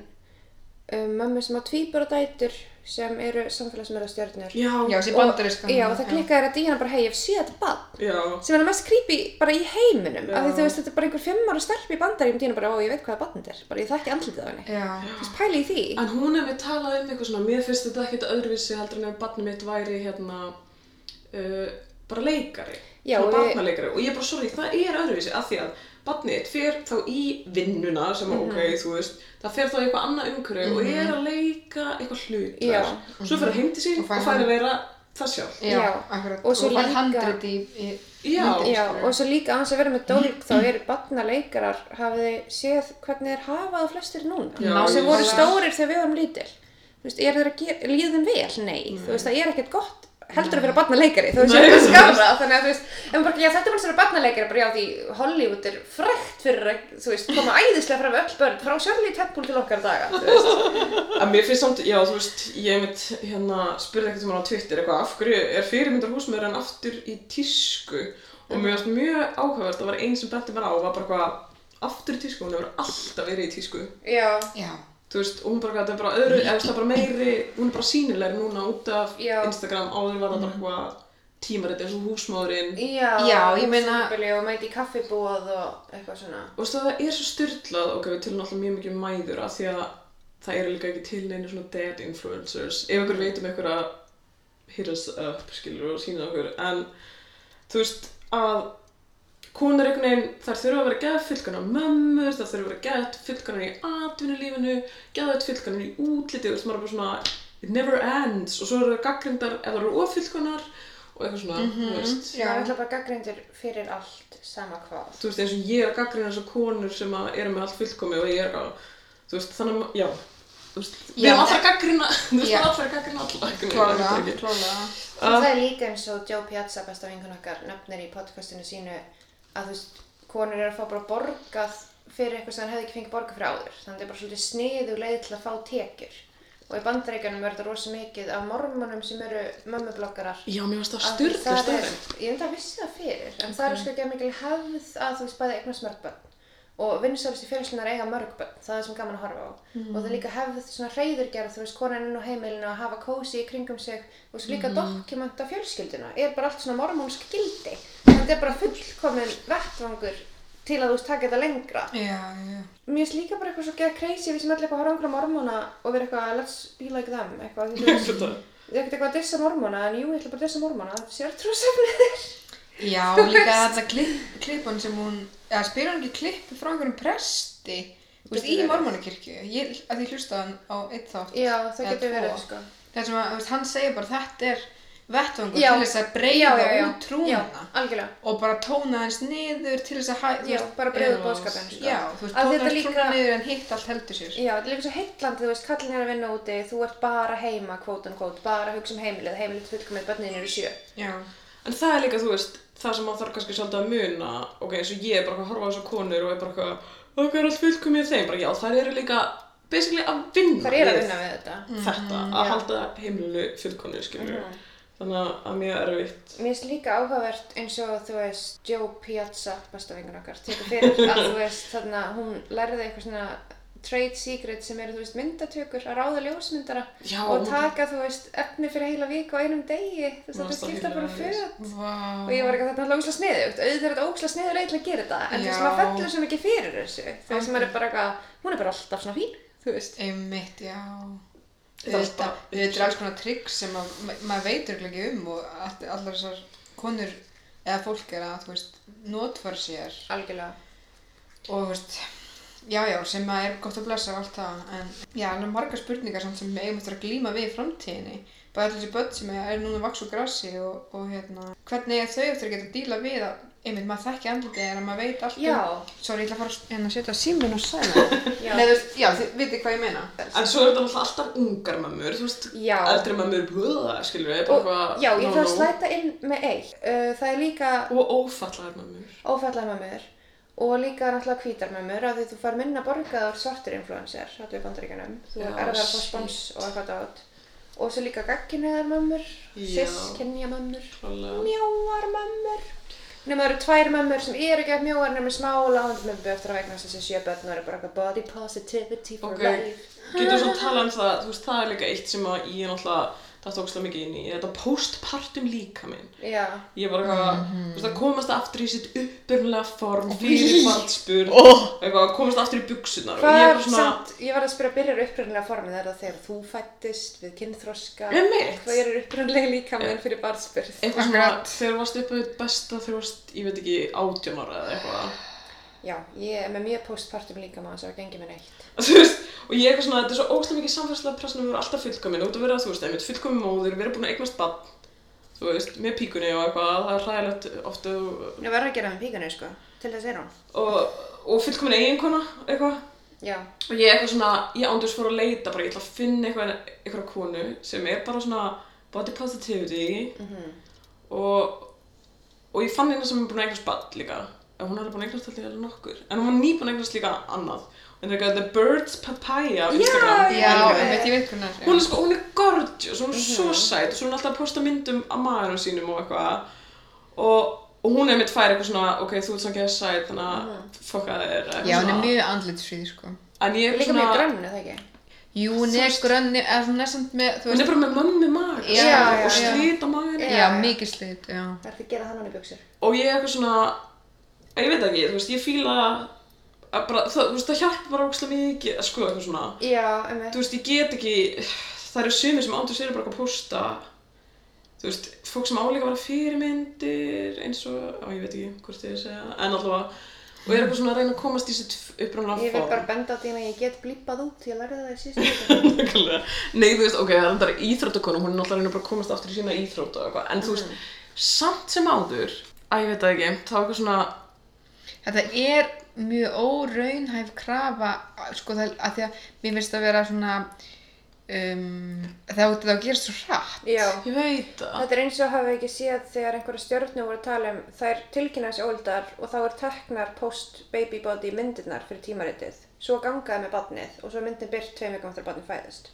um mömmu sem á tvíburadætur sem eru samfélagsmiðla stjörnur.
já,
Já, þessi bandarískan.
Já, og það klikkaði þér að díana bara, hei, ég hef séð þetta barn.
já,
Sem er það mest creepy bara í heiminum. Af því
Já.
þú veist, þetta er bara einhver fimm ára stelp í bandaríum díana bara, ó, ég veit hvað barn þetta er. Bara ég þekki andlitið á henni.
Já.
Þú veist, pæli í því.
en hún hefði talað um eitthvað svona mér finnst þetta ekkert öðruvísi heldur en ef barnið mitt væri hérna uh, bara leikari,
Já,
svona
og ég-
barnaleikari og ég bara, sorry, það er öðruvísi af því að barnið þitt fer þá í vinnuna sem
Mhm.
ok, þú veist, það fer þá í eitthvað annað umhverju og er að leika eitthvað hlut
Já.
svo fer það heim til sín
Og
og
fær
fær að vera það sjálf
Já,
Já,
akkurat.
og svo
fær
líka-
handrit í, í
Já.
myndinni,
Já,
sko.
skilurðu.
og svo líka á hans að vera með dólg þá eru barnaleikarar, hafið þið séð hvernig þeir hafa það flestir núna
Já,
sem
ég-
voru stórir þegar við vorum lítil þú veist, er þeir að gera, líða þeim vel? Nei, þú veist, það er ekkert gott heldur að vera barnaleikari, þú veist,
Nei,
það er
þú
skára þannig að þú veist, en bara, já, þetta er bara svona barnaleikari bara já, því Hollywood er frekt fyrir að, þú veist, koma æðislega fram við öll börn frá Shirley Temple til okkar daga, þú veist
En mér finnst samt, já þú veist, ég mitt hérna spurði ekkert um hann á Twitter eitthvað af hverju er fyrirmyndar húsmeður en aftur í tísku og mér finnst mjög áhugavert að var einn sem benti mér á var bara eitthvað aftur í tísku, hún hefur alltaf verið í tísku
Já,
Já,
þú veist, og hún bara eitthvað, þetta er bara öðru, eða þú veist, það er bara meiri hún er bara sínilegri núna út af
Já.
Instagram áður var það bara eitthvað tímarit eins og húsmóðurinn
já,
Já, ég meina-
Sambili og mæti í kaffibúð og eitthvað svona
og veist, það er svo styrlað ok, við tölum alltaf mjög mikið um mæður af því að það eru líka ekki til neina svona dead influencers ef ykkur veitum ykkur að hit us up, skilur og sína okkur en þú veist að konur einhvern veginn þar þurfa að vera gæða fylgana mömmur þar þurfa að vera gæða fylgana í atvinnulífinu gæða fylgana í útliti þú veist, maður er bara svona it never ends og svo eru það gaggrindar ef það eru ofylgganar og eitthvað svona, þú veist
Já. Það er alltaf bara gaggrindur fyrir allt, sama hvað.
þú veist, eins og ég er að gaggrina þessar konur sem að eru með allt fullkomi og ég er að, þú veist, þannig að, já, þú veist, við
Já,
erum allra
en-
að gaggrina, þú veist,
Já.
við erum allra að gaggrina allra, einhvern
klálega,
veginn,
klálega.
Og það er líka eins og Joe Piazza, besta vinkun okkar, nefnir í podcastinu sínu að þú veist, konur eru að fá bara borgað fyrir eitthvað sem hann hefði ekki fengið borgað fyrir áður. Þannig að það er bara svolítið sniðu leið til að fá tekjur. Og í bandaríkanum er þetta rosa mikið af mormunum sem eru mömmublokkarar.
Já, mér varst það
Að
styrlu
það er-
stöðin.
Ég enda að vissi það fyrir, en það er sko ekki að mikil hefð að þú veist bæði eignast mörg börn og vinsælust í fjölslunar eiga mörg börn, það er sem gaman að horfa á og það er líka hefð svona hreyðurgerð, þú veist, konan inn á heimilinu að hafa kósi í kringum sig og svo líka mm -hmm. dokumenta fjölskylduna, er bara allt svona mormónsk gildi þetta er bara fullkomin vettvangur til að þú veist taka þetta lengra
Já, já.
Mér finnst líka bara eitthvað svo geða crazy við sem öll eitthvað að horfa á einhverja mormóna og vera eitthvað let's be like them, eitthvað því þú veist Ég er ekkert eitthvað að dissa mormóna, en jú, ég ætla bara að dissa mormóna, það sé alveg trúsefnir.
Já, líka þetta klipp, klippun sem hún, eða spyrir hún ekki klippu frá einhverjum presti, þú veist, í
Getur verið.
mormónakirkju, ég, að ég hlusta hann á eitt þátt.
Já, það
eða
getur
tvo.
verið, sko.
Það sem að, þú veist, hann segir bara, þetta er vettvangur
Já.
til þess að
já,
breyða
já, já,
út trúna
já, algjörlega
og bara tóna hans niður til þess að hæ, þú
Já, bara breiða út
já.
boðskapinn, sko.
já, þú veist,
Að
tóna
þetta
hans
líka-
trúna niður en hitt allt heldur sér
Já, þetta er líka svo heitlandi, þú veist, kallin er að vinna úti, þú ert bara heima, quote unquote, bara að hugsa um heimilið, heimilið er fullkomið, börnin eru sjö.
já,
En það er líka, þú veist, það sem maður þarf kannski svolítið að muna, ok, eins og ég er bara eitthvað að horfa á þessar konur og er bara eitthvað, okkar er allt fullkomið í þeim, bara já, þær eru líka basically að vinna
Hvað er að vinna við þetta?
þetta,
já.
að
Mm-hmm.
halda heimilu fullkomið, skiljum við. Þannig að- að mjög erfitt.
Mér finnst líka áhugavert eins og þú veist Joe Piazza, besta vingun okkar, tekur fyrir að þú veist þarna hún lærði eitthvað svona trade secret sem eru þú veist myndatökur að ráða ljósmyndara
Já.
og taka þú veist efni fyrir heila viku á einum degi þú veist
Mér
þetta
fannst það
skipta bara
hilarious.
föt
vá
og ég var eitthvað þetta er ógislega sniðugt auðvitað er þetta ógislega sniður leið til að gera þetta en þú veist
Já.
maður fellur svo mikið fyrir þessu þú veist maður er bara eitthvað hún er bara alltaf svona fín þú veist
einmitt, já
Það er
þetta
bara-
er alls konar trygg sem að, ma maður veitur ekki um og all- allar þessar konur eða fólk er að, þú veist, notfara sér
algjörlega
og þú veist já, já, sem að er gott að blessa og allt það en já, alveg margar spurningar samt sem við eigum eftir að glíma við í framtíðinni bara allir þessi börn sem er núna vaks og grassi og, og hérna, hvernig er þau eftir að geta díla við að, einmitt, maður þekki andlitið þegar maður veit allt
Já.
um, sorry, ég ætla að fara að- hérna að setja símin og sæða
Já.
Nei, þú veist, já, þið vitið hvað ég meina
En svo er þetta náttúrulega alltaf ungar mammur, þú veist,
Já.
eldri mammur, blöða, skiljum við, bara
og,
eitthvað,
já, ég
no,
þarf að
no.
slæta inn með eitt uh, það er líka
Og ófallaðar mammur.
ófallamömmur og líka náttúrulega hvítarmömmur af því þú far minna borgað úr svartur influencer þetta er bandaríkjanum, þú
Já,
er að fá
shit.
spons og eitthvað dát og svo líka gagginniðarmömmur
Já.
sískinjamömmur
Klálega.
mjóarmömmur nema það eru tvær mömmur sem eru ekki að mjóar nema smála og mömmu eftir að vegna þessi sjö börn og eru bara eitthvað body positivity for
Ok,
life
getur svo talað um það, þú veist, það er líka eitt sem að ég náttúrulega, það tók slega mikið inn í, þetta postpartum líka minn.
já,
Ég var eitthvað,
Mhm.
þú veist, að komast aftur í sitt uppurlega form,
Í.
fyrir barnsburð,
Ó.
eitthvað, komast aftur í buksunar og
hvað
ég
ég
var svona,
samt ég var að spyrja byrjar upprunnilega formið er það þegar þú fættist við kynþroska
Einmitt.
hvað er upprunnilega líkaminn fyrir barnsbyrð
eitthvað svona,
Akkurat.
þegar þú varst upp við besta, þegar þú varst, ég veit ekki, átján ára eða eitthvað.
Já, ég er með mjög postpartum líka maður sem að gengi mér neitt.
Þú veist, og ég eitthvað svona, þetta er svo óslega mikið samfélagslega pressunum að vera alltaf fullkomin, út að vera, þú veist, einmitt fullkomin móðir, vera búin að eignast barn, þú veist, með píkunni og eitthvað, það er hræðilegt oft að þú
Nú verður að gera með píkanu, sko. Til þess er hún.
og, og fullkomin eiginkona eitthvað
Já.
og ég eitthvað svona, ég ándurs fór að leita bara, ég ætla að finna eitthvað, eitthvað konu sem er bara svona body positivity
Mhm.
og, og ég fann eina sem er búin að eignast ball líka en hún er búin að eignast allir alveg nokkur en hún var nýbúin að eignast líka annað hún er eitthvað The Birds Papaya á Instagram
Já,
já,
alveg.
einmitt, ég veit hvernig
hún er sko, hún er gorgeous, hún er
Mhm.
svo sæt og svo er hún alltaf að posta myndum af maðurum sínum og eitthvað og, og hún er mitt fær eitthvað svona, ok, þú ert svona geða sæt þannig að fokka þér eitthvað
Mhm. já, hún er
svona.
mjög andlitsfríð, sko
En ég er
Líka
svona,
mjög grönnu, það ekki?
jú, hún er grönni, eða hún er samt með, þú
hún er
veist
bara með mömmu maga
Já,
skilurðu,
já,
og
já.
slít á maginu
já, mikið slit, já
Verður að gera það hann í buksur.
og ég er eitthvað svona, að ég veit ekki, þú veist, ég fíla að bara, það, þú veist, það hjálpa bara ógslag mikið, að sko, eitthvað svona,
Já, emmi.
þú veist, ég get ekki, það eru sumir sem ándur sér bara eitthvað að posta, þú veist, fólk sem áleika bara fyrirmyndir eins og, á, ég veit ekki hvort þið er að segja, en alltaf, og ég er eitthvað svona að reyna að komast í sitt upprannalega form.
Ég vil bara benda á því að ég get blípað út, ég lærði það í síðustu viku.
Nákvæmlega. Nei, þú veist, ok, það er þetta íþróttakonu, hún er náttúrulega að reyna bara að komast aftur í sína íþrótta og eitthvað, en þú
Mhm.
veist, samt sem áður, að ég veit það ekki, þá er eitthvað svona,
Þetta er mjög óraunhæf krafa, sko, það, að því að mér finnst að vera svona, um, það átti það að gera svo hratt.
Já.
ég veit það.
Þetta er eins og hafa ekki séð þegar einhverja stjórnum voru að tala um þær tilkynnaðs óldar og þá er teknar post-baby body myndirnar fyrir tímaritið. Svo gangaði með badnið og svo er myndin byrt tveim vikum eftir að badnið fæðist.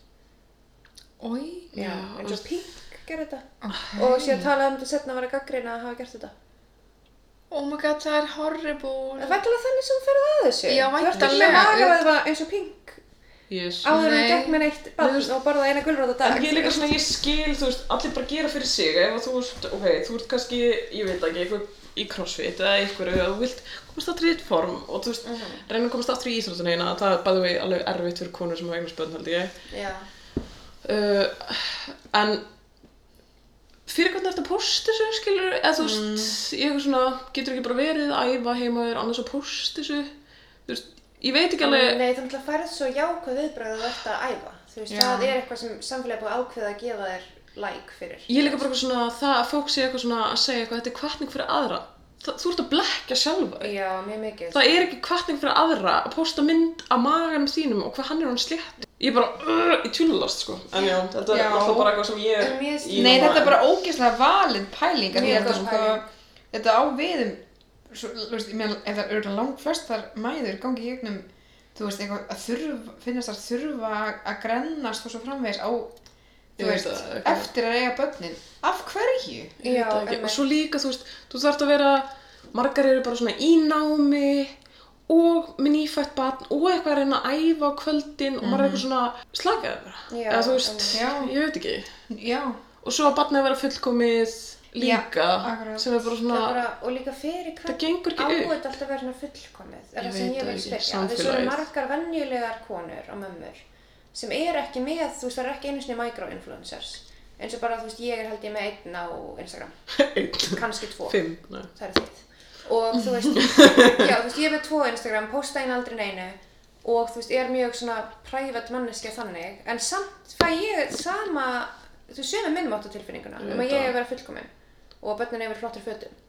Ói.
Já,
Já,
eins og Pink gerði þetta.
Okay.
Og síðan talaði um þetta setna að vera gaggrina að hafa gert þetta.
Oh my god, það er
Það
horrible.
er væntanlega þannig sem þú ferð að þessu.
Já,
Þú ert
væntanlega.
alveg maga að það var eins og pink
Yes.
áður en
Nei.
þú gekk með neitt bann og borðaði eina gulrót á dag.
En ég er líka svona, ég skil, þú veist, allir bara gera fyrir sig, ef að þú veist, ok, þú ert kannski, ég veit ekki, eitthvað í crossfit eða eitthvað, eða þú vilt komast aftur í þitt form og þú veist, reyna að komast aftur í íþróttunina, það er bæðið við alveg erfitt fyrir konur sem hafa eignast börn, held ég.
Já.
uh, en fyrir hvernig ertu að posta þessu skilur, eða þú veist ég eitthvað svona, getur ekki bara verið að æfa heima þér annars að posta þessu þú veist, ég veit ekki alveg
Nei, þannig að færið svo jákvæð viðbröð að þú ert að æfa. Þú veist,
Já.
það er eitthvað sem samfélagi er búið að ákveða að gefa þér like fyrir
Ég er líka bara eitthvað svona, það að fólk sé eitthvað svona að segja eitthvað, þetta er kvartning fyrir aðra. Það, þú ert að blekja sjálfa þig.
Já, mjög mikið
Það er ekki kvartning fyrir aðra að posta mynd af maganum þínum og hvað hann er hann slétt. Ég er bara, uh, ég tjúlulast sko. En já, þetta
Já.
er alltaf bara eitthvað sem ég...
En mér finnst-
ég
Nei,
núna-
þetta er bara ógeðslega valin pæling af því
Mjög
að þetta,
góð pæling.
sko, þetta á við um, svo, þú veist, ég meðan, ef það eru langt flestar mæður gangi í gegnum, þú veist, eitthvað að þurfa, finnast þar þurfa að grennast og svo framvegis á,
Ég
þú veist,
veit það, eitthvað.
eftir að eiga börnin. Af hverju?
Ég
Já,
veit það ekki.
emmi.
Og svo líka, þú veist, þú þarft að vera, margar eru bara svona í námi og með nýfætt barn og eitthvað að reyna að æfa á kvöldin og maður er eitthvað svona slakaði bara.
Já,
Eða þú veist,
emmi. Mhm. Já.
ég veit ekki.
Já,
Og svo að barnið að vera fullkomið líka,
akkurat.
sem er bara
Það
svona,
er bara, og líka fyrir
það
hvern
gengur
á
ekki upp.
þetta alltaf að vera svona fullkomið er
Ég
það sem
veit
ég
það
vil
ekki,
spyrja af því svo eru
samfélagið.
margar venjulegar konur og mömmur sem eru ekki með, þú veist, það eru ekki einu sinni micro-influencers eins og bara, þú veist, ég er held ég með einn á Instagram
Einn,
kannski tvo,
fimm, nei.
það eru þitt og þú veist, já, þú veist, ég er með tvo á Instagram posta einn aldrei neinu og þú veist, er mjög svona private manneskja þannig, en samt fæ ég sama, þú veist, sömu minnmátt á tilfinninguna,
Ég
um
veit
að ég
það.
er að vera fullkomin og börnin yfir flottir fötum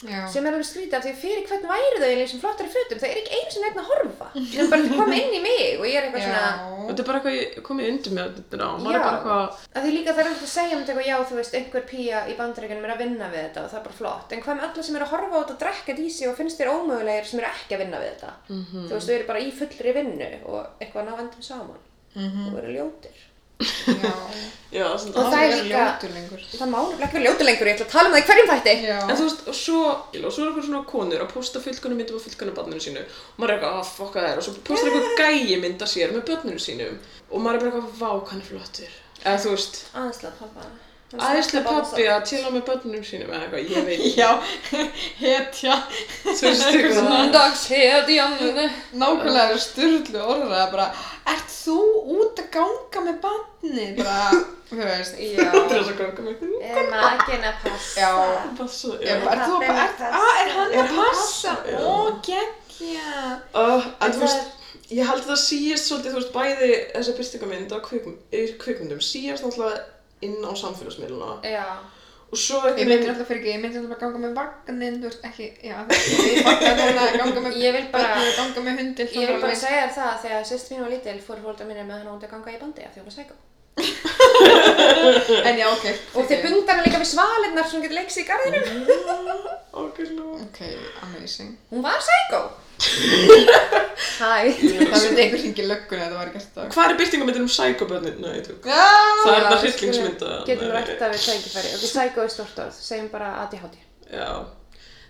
Já.
sem er alveg skrítið af því fyrir hvern væri þau í þessum flottari fötum, það er ekki einu sem neitt að horfa það er bara að koma inn í mig og ég er eitthvað svona
Já.
Þetta er bara eitthvað ég komið undir með þetta á, maður er bara
Já.
eitthvað,
að því líka það er alltaf að segja um þetta eitthvað já þú veist einhver pía í bandaríkunum er að vinna við þetta og það er bara flott en hvað með alla sem eru að horfa á þetta og drekka þetta í sig og finnst þér ómögulegir sem eru ekki að vinna við þetta þú veist þau eru bara í fullri vinnu og eitthvað að ná endum saman og eru ljótir
Mhm, Já.
já, svona,
Og það er
Aldrei
líka-
ljótur lengur.
það má nefnilega ekki vera ljótir lengur ég ætla að tala um það í hverjum þætti
Já.
En þú veist, og svo, og svo er eitthvað svona konur að posta fylgkanum myndum af fylgkanum barninu sínu og maður er eitthvað, "Ah, að fokka þær, og svo postar eitthvað gæi mynd að sér með barninu sínum og maður er bara eitthvað, vá, hvað hann er flottur eða þú veist,
aðeinslega pappa
æðislega pappi að tila með barninu sínum eða eitthvað, ég veit,
Já, hetja.
þú veist, eitthvað svona
Dags hetjan
Nákvæmlega eru styrlu orðraða bara, ert þú út að ganga með barnið? Bara, þú veist,
Þetta
Já,
er svo ganga mig,
er maginn að passa
Já.
passa,
Já,
já
ert þú að,
Pabbi er að
ert,
passa.
að, er hann
Er
að
hann að
passa?
passa? Já.
Ó, geggja.
Uh, en
En það
þú veist, ég held að það síðast svolítið, þú veist, bæði þessi byrtingamynd af kvikm, í kvikmyndum síðast náttúrulega inn á samfélagsmiðluna
Já,
og svo
Ég
einhvern
myndi
veginn,
alltaf fyrir ekki, ég myndi alltaf bara ganga með vagnin, þú veist, ekki, já, það er vagnin að ganga með
Ég vil bara-
barnið, ganga með hundin,
ég vil bara segja þér það að þegar sýst mín var lítil fór fólkdra mínir með hann út að ganga í bandi af því hún var sækó.
segja. En já, ok.
Og þeir bundar hann líka við svalinnar sem hún getur leiks í garðinum.
ákveðlega,
Ok, amazing.
Mhm. Hún var sækó. Hæ.
Það myndi einhver hringi lögguna þetta var gert það.
hvað er byrtingamyndin um sækobönnið? Nei, þú,
Já!
það er
Já,
það
við
hryllingsmynda.
skulum- Getum rætta við tækifæri. Ok, sækó er stort orð. Segjum bara ADHD.
Já,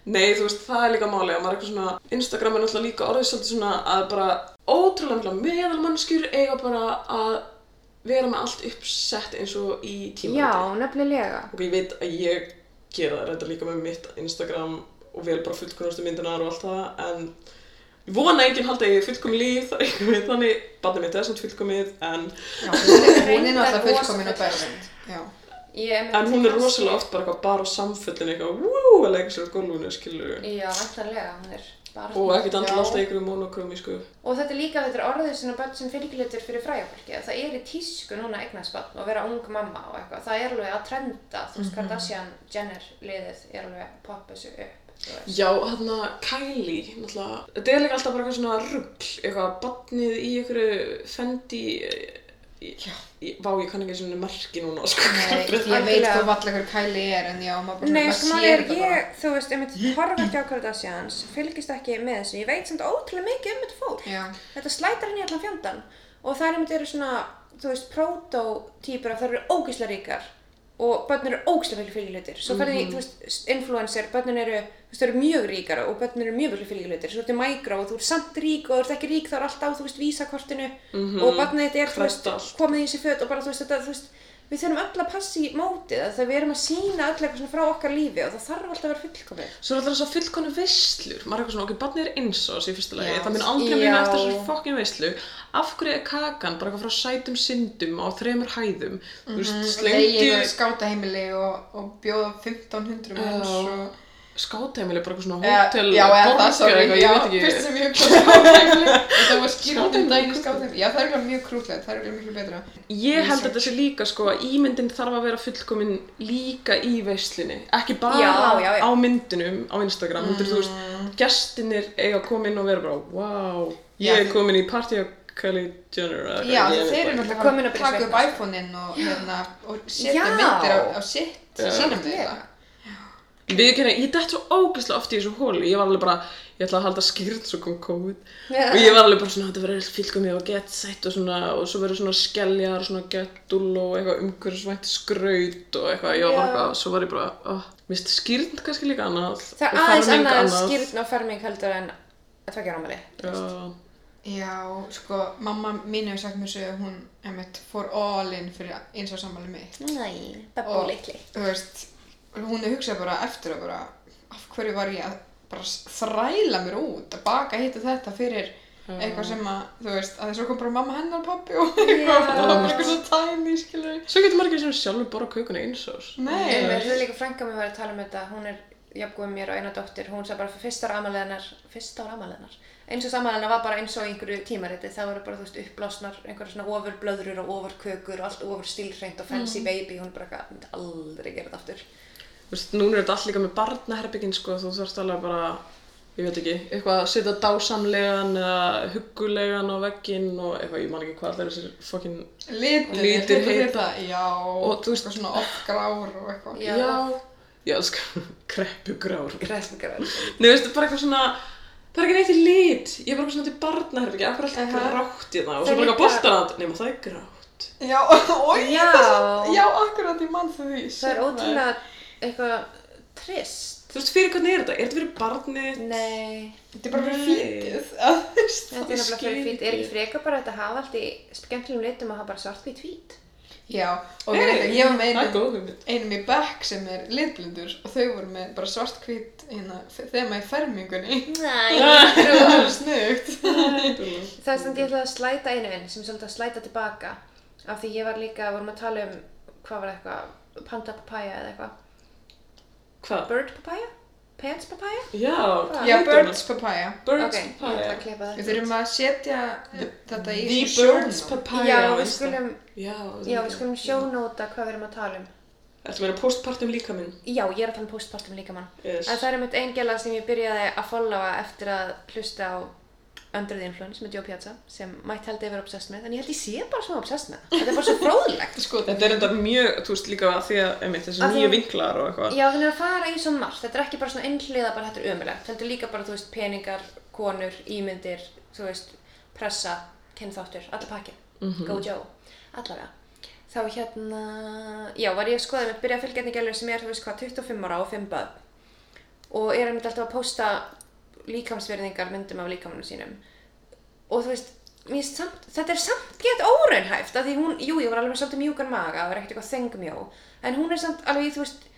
nei, þú veist, það er líka máli og maður er eitthvað svona, Instagram er náttúrulega líka orðið svolítið svona að bara ótrúlega meðalmannskjur eiga bara að vera með allt uppsett eins og í tíma.
Já, nefnilega.
og ég veit að ég gera þetta líka með mitt Instagram og vel bara fullkonustu myndunar og allt það en ég vona að enginn haldi að ég er fullkomi líf það er einhver veit þannig, barnið mitt er samt fullkomið en,
Já, hún er
Reyndar
náttúrulega fullkomin og
rosa
best. Já.
Ég er með
en hún er rosalega oft bara eitthvað bara á samfellin eitthvað wú, að leika sér á gólfinu skilur
Já, vantanlega. Hún er bara...
og ekkert
Já.
andla alltaf einhverju monokrumi sko
Og þetta er líka, þetta er orðið svona börn sem fylgjulitur fyrir fræjafólki. að Það er í tísku núna eignasbann og vera ung mamma og eitthvað. Það er alveg að trenda, þú
Mhm.
veist, Kardashian, Jenner liðið er alveg að poppa þessu upp, þú veist.
já, hann að Kylie náttúrulega, þetta er líka alltaf bara eitthvað svona rugl eitthvað, barnið í einhverju fendi eh, já. vá, ég kann ekki einu sinni merki núna sko
Nei, ég veit
Algjörlega.
þú vall eitthvað Kylie er en já, maður bara
Nei,
maður
sko
sér
maður er,
þetta bara.
ég, þú veist, einmitt horfa ekki á Kardashians, fylgist ekki með þessu, ég veit samt ótrúlega mikið um þetta fólk.
Já.
Þetta slætar henni allan fjandan og það er einmitt eru svona, þú veist, prototípur af það eru ógísla ríkar og börn eru ógísla fyrir fylgjulitur. Svo ferði,
Mhm.
þú veist, influencer, börnin eru, þú veist, þau eru mjög ríkar og börnin eru mjög fyrir fylgjulitur. Svo ertu micro og þú ert samt rík og þú ert ekki rík þá er alltaf, þú veist, vísakortinu
Mhm.
og barnið þetta er, þú veist,
Klætt allt.
komið í þessi föt og bara, þú veist, þetta, þú veist, við þurfum öll að passa í mótið að það við erum að sína öll eitthvað svona frá okkar lífi og það þarf alltaf að vera fullkomið.
Svo er alltaf þess að fullkonu veislur, maður er eitthvað svona, ok, barnið er eins og þessi í fyrsta lagi,
Já.
það minn aldrei muna
Já.
eftir þessari fokkin veislu, af hverju er kakan bara eitthvað frá sætum syndum á þremur hæðum, þú veist,
Mhm. Legið
slengdu,
og skátaheimili og, og bjóða 1500 manns og
skátheimili, bara eitthvað svona
Eða-
hótel,
já, eða það,
borgar
sorry,
eitthvað,
já,
ég veit ekki.
fyrst sem ég um hugsa skáðheimli þetta var skýrt um
Skátheimili,
daginn í
krúttlegt.
skáðheimli já, það er eiginlega mjög krútlegt, það er eiginlega miklu betra
Ég held að þetta sé líka sko að ímyndin þarf að vera fullkomin líka í veislinni, ekki bara
Já, já, já.
á myndinum á Instagram, mm. þú
Mhm.
veist, gestinir eiga að koma inn og vera bara, wow,
Já,
ég er
þið-
komin í party of Kylie Jenner eða eitthvað,
já,
ég veit
þeir eru
það
náttúrulega
Komin
komin
að
að
byrja
taka upp
sveifla, sko.
iPhone-in og, hérna, og setja
Já.
myndir á, á sitt
Já.
sem sínum þau
Algjörlega.
það
ekki. Við kynna, ég dætt svo ógeðslega oft í þessu hólu, ég var alveg bara, ég ætla að halda skýrn svo kom COVID og ég var alveg bara svona, þetta verður fylgkomið og gett sætt og svona, og svo verður svona skelljar og svona gettul og eitthvað umhverfisvænt skraut og eitthvað, ég var
Já.
bara eitthvað, svo var ég bara, oh, mist skýrn kannski líka annað
Það er
og
aðeins
ferming
annað skýrn og ferming heldur en að tvekja rámali.
Já,
Já, sko, mamma mín hefur sagt mér svo að hún, einmitt, fór all in fyrir eins og sammáli mitt.
Næ, Bebbo litli.
Þú veist, hún hefur hugsað bara eftir að bara, af hverju var ég að bara s- þræla mér út, að baka hitt og þetta fyrir eitthvað sem að, þú veist, að þessu kom bara mamma hennar og pappi og eitthvað,
Já.
það var bara eitthvað svo tæmi, skilur við.
Svo getur maður ekki sjálfur borða kökuna eins og
Nei,
Nei,
mér er líka frænka mér var að tala um þetta, hún er jafngóð mér og eina dóttir, hún sagði bara fyrir fyrsta ára amalið hennar, fyrsta ára amalið hennar, eins og samalina var bara eins og í einhverju tímariti, það voru bara, þú veist, uppblásnar, einhverja svona ofurblöðrur og ofurkökur og allt ofur stílhreint og fancy baby, hún er bara eitthvað, myndi aldrei gera þetta aftur.
Þú veist, núna er þetta allt líka með barnaherbyggin sko, þú þarfst alveg bara, ég veit ekki, eitthvað að setja dásamlegan eða huggulegan á vegginn og eitthvað, ég man ekki hvað allir þessir fokkin...
litir,
Litir heita.
það, já,
Og þú veist-
eitthvað svona off-grár og eitthvað.
Já.
Já, já sko, kreppugrár.
Kreðsmikar.
Nei, þú veist, bara eitthvað svona, það er ekki neitt í lit, ég er bara eitthvað svona til barnaherbyggin, af hverju allt
Aha.
grátt í það og
Það
svo
er
bara eitthvað
líka-
boltarand, nema það er grátt.
Já, oi,
Já.
þess- já, akkurat, ég mann því.
Það er
shit, maður.
ótrúlega eitthvað trist.
Þú veist, fyrir hvernig er þetta? Er þetta fyrir barnið?
Nei,
Þetta er bara fyrir
Nei.
fítið, að þú veist.
þetta er
Ég
nefnilega
skil
fyrir fít, er
ekki.
ekki freka bara þetta að hafa allt í skemmtilegum litum og hafa bara svartvít fít?
Já, og
Hey,
hey, ég var með
Það er
einum,
góð hugmynd.
einum í bekk sem er litblindur og þau voru með bara svart-hvít hérna, þema í fermingunni.
Næ,
Það var snugt.
Það er samt ég ætlaði að slæta einu inn sem svolítið að slæta tilbaka af því ég var líka, vorum að tala um hvað var eitthvað, panda papaya eða eitthvað
Hvað?
bird papaya? pants papaya?
Já,
Já,
Já,
heitir
birds papaya.
ok,
Birds
ég ætla
papaya.
að klippa
Við
þetta
þurfum að setja þetta í
The
svona
birds
sjónum.
papaya
já,
á
við
Insta.
skulum,
Já,
já, við skulum sjónóta hvað við erum að tala um
Ertu meira postpartum líka minn?
já, ég er að tala um postpartum líka mann
Yes.
en það er einmitt ein gæla sem ég byrjaði að followa eftir að hlusta á Under the Influence með Joe Piazza sem mætt held ég að vera obsessed með en ég held ég sé bara svona obsessed með það. þetta er bara svo fróðlegt
Sko,
Þetta er enda mjög, þú veist líka að því að einmitt þessi
Að því-
nýju vinklar og eitthvað.
Já, þannig að fara í svo margt, þetta er ekki bara svona einhliða bara þetta er ömulegt, þetta er líka bara, þú veist, peningar, konur, ímyndir, þú veist, pressa, kynþáttur, allir pakkin, go Joe, allavega. Þá hérna, já, var ég að skoða, ég byrja að fylgja einnig gælur sem er, þú veist hvað, 25 ára og 5 börn og er einmitt alltaf að posta líkamsverðingar myndum af líkamunum sínum og þú veist, mér finnst samt, þetta er samt gett óraunhæft af því hún, jú, ég var alveg með svolítið mjúkan maga og var ekkert eitthvað þengmjó en hún er samt alveg, í, þú veist,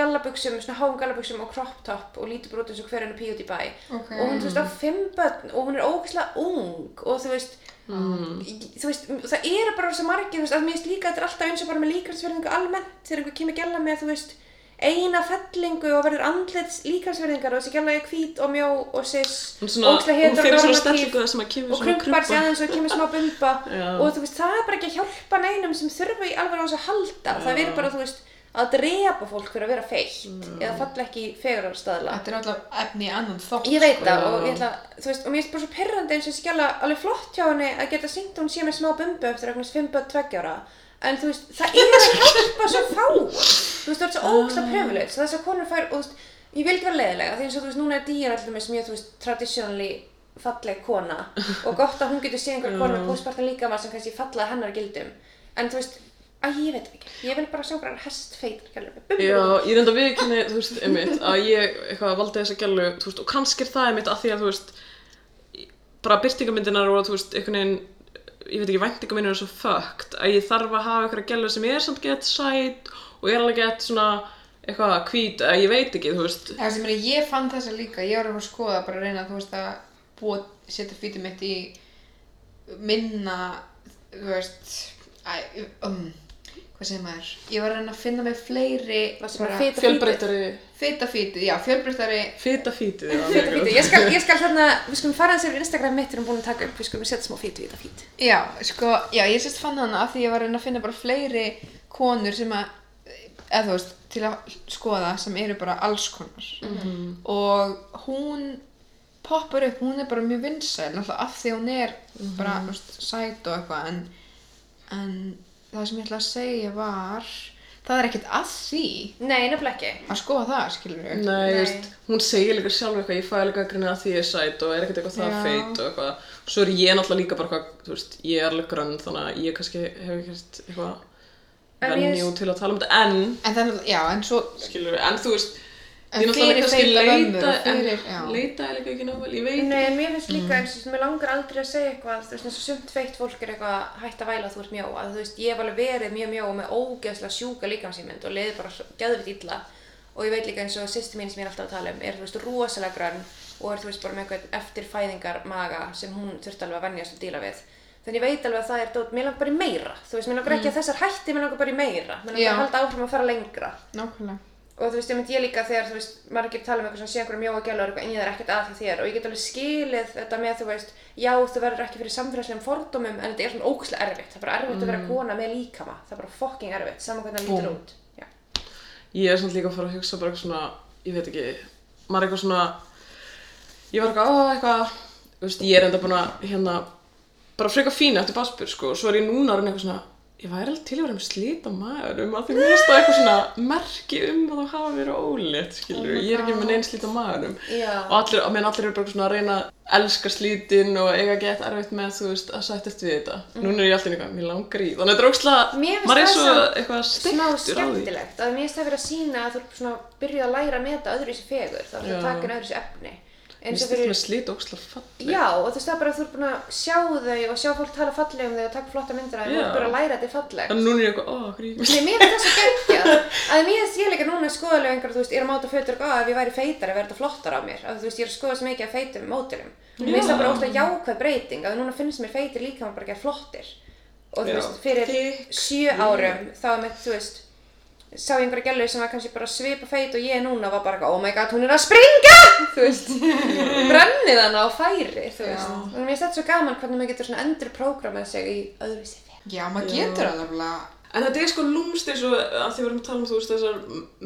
gallabuxum, svona háum gallabuxum og crop top og lítur bara út eins og hver henni PewDiePie
Ok.
og hún, þú veist, á fimm börn og hún er ógeðslega ung og þú veist,
Mm.
í- þú veist, m- það eru bara svo margir, þú veist, að mér finnst líka, þetta er alltaf eins og bara með líkansverðingu almennt þegar einhver kemur gæla með, þú veist, eina fellingu og verður andlits líkansverðingar og þessi gæla er hvít og mjó og sis
Hún, svona, hún fyrir svona stellingu það sem að kemur
og
svona
krumpar sig aðeins og kemur smá bumba
Já.
og þú veist, það er bara ekki að hjálpa neinum sem þurfa í alveg á þessu að halda það er bara, þú veist, að drepa fólk fyrir að vera feitt
Mm.
eða falla ekki í fegurarstaðla
Þetta er alltaf efni í annan þótt.
ég veit það
Já.
og ég ætla, þú veist, og mér finnst bara svo perrandi eins og þessi gæla alveg flott hjá henni að geta syngt að hún sé með smá bumbu eftir eitthvað 5-2 ára en þú veist, það er að hjálpa svo fá þú veist, það er svo ógsta privilege þess að konur fær, og þú veist, ég vil ekki vera leiðilega því eins og þú veist, núna er dýjar alltaf með mjög, þú veist, traditionally falleg kona og gott að hún getur séð einhver konu með postparta líka maður sem kannski falla að hennar gildum en þú veist, að ég veit ekki ég vil bara sjá hverjar hestfeitar gælur með bumbu
Já, ég reynda að viðkynni, þú veist, einmitt, að ég eitthvað valdi þessa gælu, þú veist, og kannski er það einmitt að því að, þú veist, bara byrtingamyndinar og, þú veist, einhvern veginn, ég veit ekki, væntingamyndinar er svo fucked, að ég þarf að hafa einhverja gælu sem er samt gett sæt og er alveg gett svona, eitthvað, hvít, að ég veit ekki, þú veist,
Það sem er að ég fann þessa líka, ég var að fara að skoða bara að reyna þú veist að búa, setja fítið mitt í minna, þú veist, æ, um, hvað segir maður, ég var að reyna að finna með fleiri
Varstu bara
bara
fita
Fjölbreyttari
fita fítið, já, fjölbreytari
fita fítið.
Fita fíti, ég skal, ég skal hérna, við skulum fara hans yfir Instagram mitt þegar við erum búin að taka upp, við skulum setja smá fítu í þetta fít.
já, sko, já, ég sérst fann hana af því ég var að reyna að finna bara fleiri konur sem að eða þú veist, til að skoða sem eru bara alls konar -hmm.
Mhm.
og hún poppar upp, hún er bara mjög vinsæl náttúrulega af því hún er
Mhm.
bara mm veist, sæt og eitthvað en, en það sem ég ætla að segja var það er ekkert að því
Nei, nefnilega ekki.
að skoða það, skilur við
Nei,
Nei.
Nei. Veist, hún segir líka sjálf eitthvað, ég fæ líka að grina að því ég er sæt og er ekkert eitthvað það
Já.
feit og eitthvað. Svo er ég náttúrulega líka bara eitthvað, þú veist, ég er alveg grönn þannig að ég kannski hef ekkert eitthvað
En ég-
venjú til að tala um þetta. En,
En það, er- já, en svo,
skilur við, en þú veist,
En
ég
fyrir
náttúrulega kannski
feita mömmur
leita,
og fyrir- já.
en leita er líka ekki nável, ég veit
Nei, en mér finnst líka eins og mér langar aldrei að segja eitthvað, þú veist, eins og sumt feitt fólk er eitthvað hætt að væla að þú ert mjó, að þú veist, ég hef alveg verið mjög mjó og með ógeðslega sjúka líkamsýmynd og leiði bara gæðvitt illa og ég veit líka eins og sýstu mín sem ég er alltaf að tala um er, þú veist, rosalega grann og er, þú veist, bara með eitthvað eftirfæðingar maga sem hún þurfti alveg að vennjast og díla við. Þannig ég veit alveg að það er dót, mér langar bara í meira, þú veist, mér langar ekki að þessar hætti, mér langar bara í meira, mér
Já.
langar að halda áfram að fara lengra
nákvæmlega.
og þú veist, ég myndi ég líka þegar, þú veist, margir tala um eitthvað sem sé einhverjum mjóa gæla og eitthvað en ég er ekkert að því þér og ég get alveg skilið þetta með, þú veist, já, þú verður ekki fyrir samfélagslegum fordómum en þetta er svona ókslega erfitt, það er bara erfitt að vera
Mm.
kona með líkama, það er bara fucking erfitt, saman hvernig það lítur
Búmm.
út. Já.
Ég er samt líka að fara að hugsa bara eitthvað svona, ég veit ekki, maður er eitthvað svona, ég var eitthvað, "Ó, eitthvað, þú veist, ég er enda búin að, hérna, bara frekar fína eftir basbur, sko, og svo er ég núna orðin eitthvað svona, ég væri alveg til að vera með slita maður um að því mér stað eitthvað svona merki um að það hafa verið ólétt, skilur,
Oh my
ég er ekki
God.
með neinn slita maður um.
Já.
Og allir, á meðan allir eru bara eitthvað svona að reyna að elska slítin og eiga gett erfitt með, þú veist, að sættast við þetta. Núna er ég alltaf eitthvað, mér langar í, þannig
Mhm.
að þetta er
Mér
ókslega,
finnst
maður er
það
svo
samt
eitthvað
Smá
stektur á því.
skemmtilegt, að mér finnst það verið að sína að þú er svona byrjuð að læra að meta öðruvísi fegur, þá er það
Já.
að taka inn öðruvísi efni.
Mér
Eins og
finnst þetta
fyrir
með slit ókslega falleg.
Já, og þú veist það er bara að þú er búin að sjá þau og sjá fólk tala fallega um þau og taka flotta myndir af þau og þú
Já.
er bara að læra að þetta er fallegt.
En núna er ég eitthvað, ó, grímis.
Nei, mér finnst það svo geggjað að mér finnst ég líka núna skoðalega einhver, þú veist, ég er að máta fötur og góða ef ég væri feitari verður þetta flottar á mér að þú veist, ég er að skoða svo mikið af feitum mótilum og mér finnst það bara óslega jákvæð breyting að núna finnst mér feitir líka maður bara ekki flottir og þú
Já.
veist, fyrir
Þykk,
sjö árum þá er mitt, þú veist sá ég einhverja gælu sem var kannski bara svipa feit og ég núna var bara eitthvað, oh my god, hún er að springa þú veist, brennið hana á færi, þú veist
Já.
og mér finnst þetta svo gaman hvernig maður getur svona endurprogrammað sig í öðruvísi fer
Já, maður
Já.
getur það alveg.
En þetta er sko lúmst eins og að því við erum að tala um, þú veist, þessar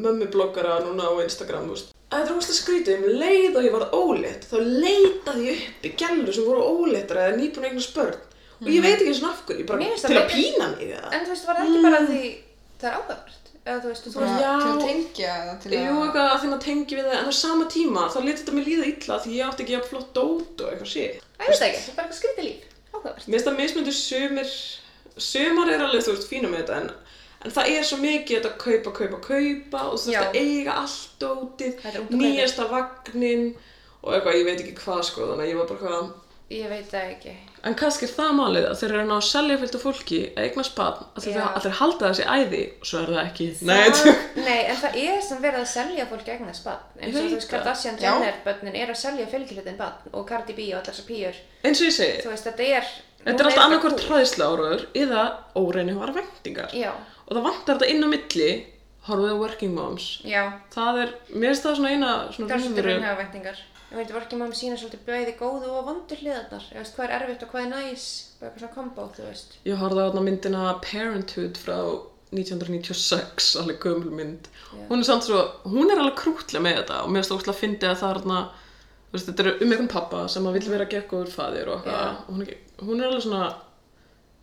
mömmubloggara núna á Instagram, þú veist. Að Þetta er óslega skrítið, um leið og ég varð ólétt, þá leitaði ég uppi gælur sem voru óléttar eða nýbúin eignast börn. Og ég veit ekki eins og af hverju, ég
Mér
bara
finnst
til
það
að
bara-
pína mig eða.
En þú veist, var það ekki bara því það er ágæðvart? Eða þú veist, og þú
Bara
veist,
Mm. Já.
Til að tengja það, til að...
Jú, eitthvað að þeim að tengja við það, en á sama tíma þá leti þetta mér líða illa því ég átti ekki jafn flott dót og eitthvað sé.
að ég veist það ekki, það er bara eitthvað skrítið líf, ágæðvart.
Mér finnst það mismunandi sumir, sumar er alveg, þú veist, fína með þetta, en, en það er svo mikið þetta kaupa, kaupa, kaupa og þú
Já.
veist að eiga allt dótið,
Þetta er út að kaupa.
nýjasta vagnin og eitthvað, ég veit ekki hvað sko, þannig að ég var bara hvað.
Ég veit það ekki.
En kannski er það málið að þeir eru að ná að selja fylgta fólki að eigna spann, að þeir
Já.
allir halda þessi æði og svo er það ekki.
það, nei, en það er sem verið að selja fólk gegna spann. En
Ég
svo
veit
þú veist,
það.
Kardashian
Já.
Jenner bönnin er að selja fylgjulitin bann og Cardi B og allar þessar pýjur.
eins og ég segi,
Þú veist, þetta er... hún
Eh. þetta er alltaf
bara
annarkvort
cool.
hræðsla áraður eða óreinu var vendingar.
Já,
Og það vantar þetta inn á milli, horfið á working moms.
já.
Það er, mér finnst það svona eina svona
Það er svolítið
raunveruleg-
raunhafa vendingar. Ég veit, var ekki maður sína svolítið bæði góðu og vondu hliðarnar. Ég veist, hvað er erfitt og hvað er næs, bara eitthvað svona kombo, þú veist.
Ég horfði á þarna myndina Parenthood frá 1996, alveg gömul mynd.
Já.
Hún er samt svo, hún er alveg krútlega með þetta og mér finnst óslega að fyndi að það er þarna, þú veist, þetta er um einhvern pappa sem að vill vera geggóður faðir
Já.
og eitthvað. Og Hún, er ekki- hún er alveg svona,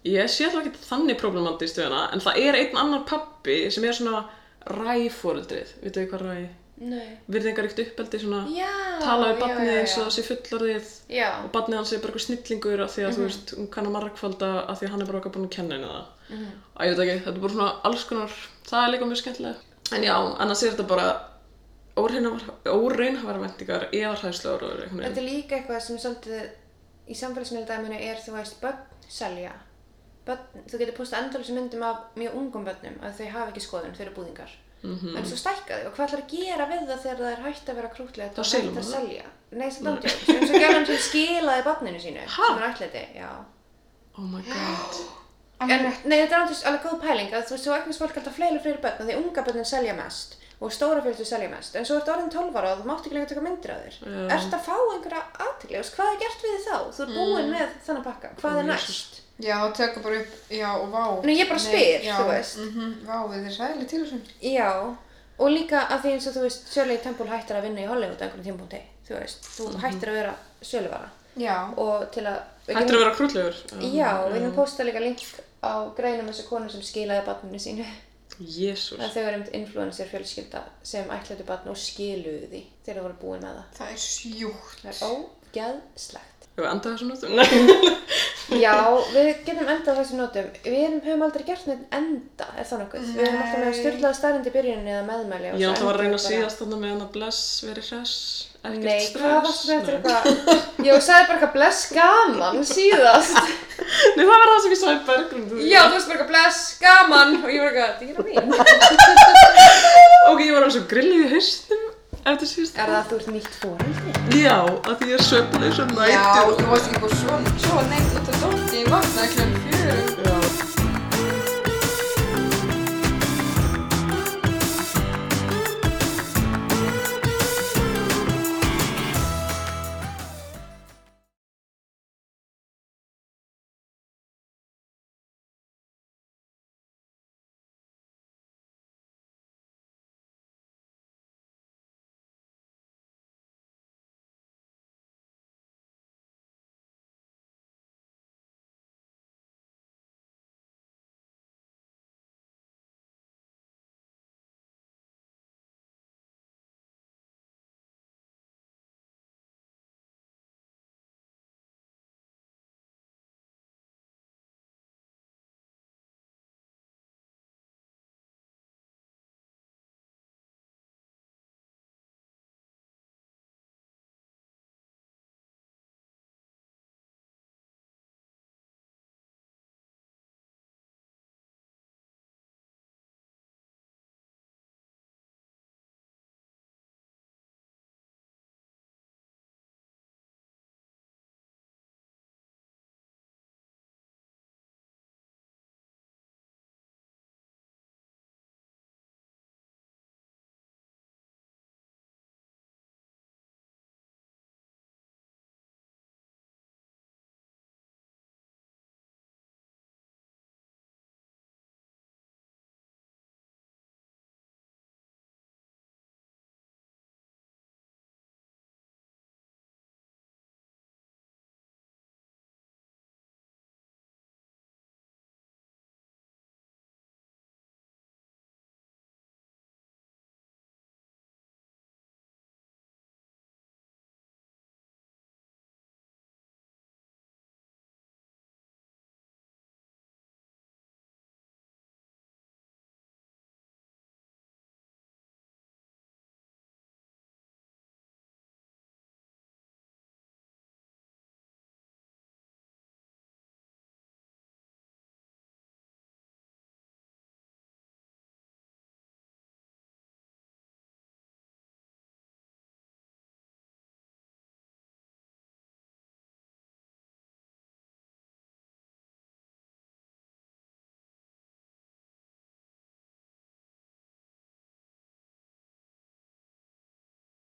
ég sé alltaf ekki þannig problematist við hana, en það er einn annar pappi sem er svona ræfóreldrið, vitið þið hvað ræ?
Nei.
Virðingaríkt uppeldi svona,
Já,
tala við
já,
barnið
já,
eins
já.
og það sé fullarðið
Já.
og barnið hans er bara eitthvað snillingur af því að
Mhm.
þú veist, hún kann að margfalda af því að hann er bara okkar búin að kenna henni það
Mhm.
að ég veit ekki, þetta er bara svona alls konar það er líka mjög skemmtilega en já, annars er þetta bara óreynhafara vendingar eða hræðslegar og einhvern
Þetta
veginn
er líka eitthvað sem svolítið í samfélagsmiðludæminu er þú veist börn selja. Börn, þú getur postað endalisi myndum af mjög ungum börnum að þau hafa ekki skoðun, þau eru búðingar. En svo stækka þau og hvað ætlar að gera við það þegar það er hægt að vera krútlega
Þá
og hægt
selur
að
maður það.
selja? Nei, sem dandjó. Sem svo gerðan sem skilaði barninu sínu,
Ha?
sem er ætliði, já.
oh my god
En,
alveg rétt.
nei, þetta er alveg, alveg góð pæling að þú veist, þú egnast fólk alltaf fleiri og fleiri börn af því unga börnin selja mest og stóra fjöldu selja mest en svo ertu orðin 12 ára og þú mátt ekki lengur taka myndir af þér
Já.
Ertu að fá einhverja aðtegli, veist, hvað er gert við þig þá? Þú er búin
Mm.
með þannig pakka, hvað er næst?
Já, þá tekur bara upp, já, og vá.
Nei, ég bara spyr, þú veist.
Mm vá, þetta er sæðileg til þessum.
Já, og líka að því eins og þú veist, Shirley Temple hættir að vinna í Hollywood á einhverjum tímpúnti, þú veist, þú
Mhm.
hættir að vera söluvara
Já,
og til að
Hættir að vera Mm. krúllegur.
Já, við erum posta líka link á greinum þessu konu sem skilaði barninu sínu
Jésús.
að þau eru einmitt influencer fjölskylda sem ætlaði barn og skiluðu því þegar þau voru búin með það.
það er sjúkt.
Það er ógeðslegt.
Hefur andað þessum notum?
Já, við getum endað á þessu nótum. Við erum, höfum aldrei gert neitt enda, er það nokkuð? Við erum alltaf með
Nei.
styrlaða starrend í byrjuninni eða meðmæli. og
Ég
svo
ætla að
endum
reyna
við
að
bara-
síðast þarna með hann að bless, verið hress, ekkert
Nei,
stress.
hvað varstu með eftir
Nei.
eitthvað? Ég sagði bara eitthvað bless gaman síðast.
Nei, það var það sem ég sagði bergrundu.
Já, þú veist bara eitthvað bless gaman og ég var eitthvað, dýra mín.
Ok, ég var alveg svo grillið í haustum eftir síðast.
Er það að þú ert nýtt fóröldri?
Já, að því ég er söfnleis og
Já,
nætur.
þú varst ekki búin svona, svona neitt út af dótti í vatna kljóðum fjörum.
Já.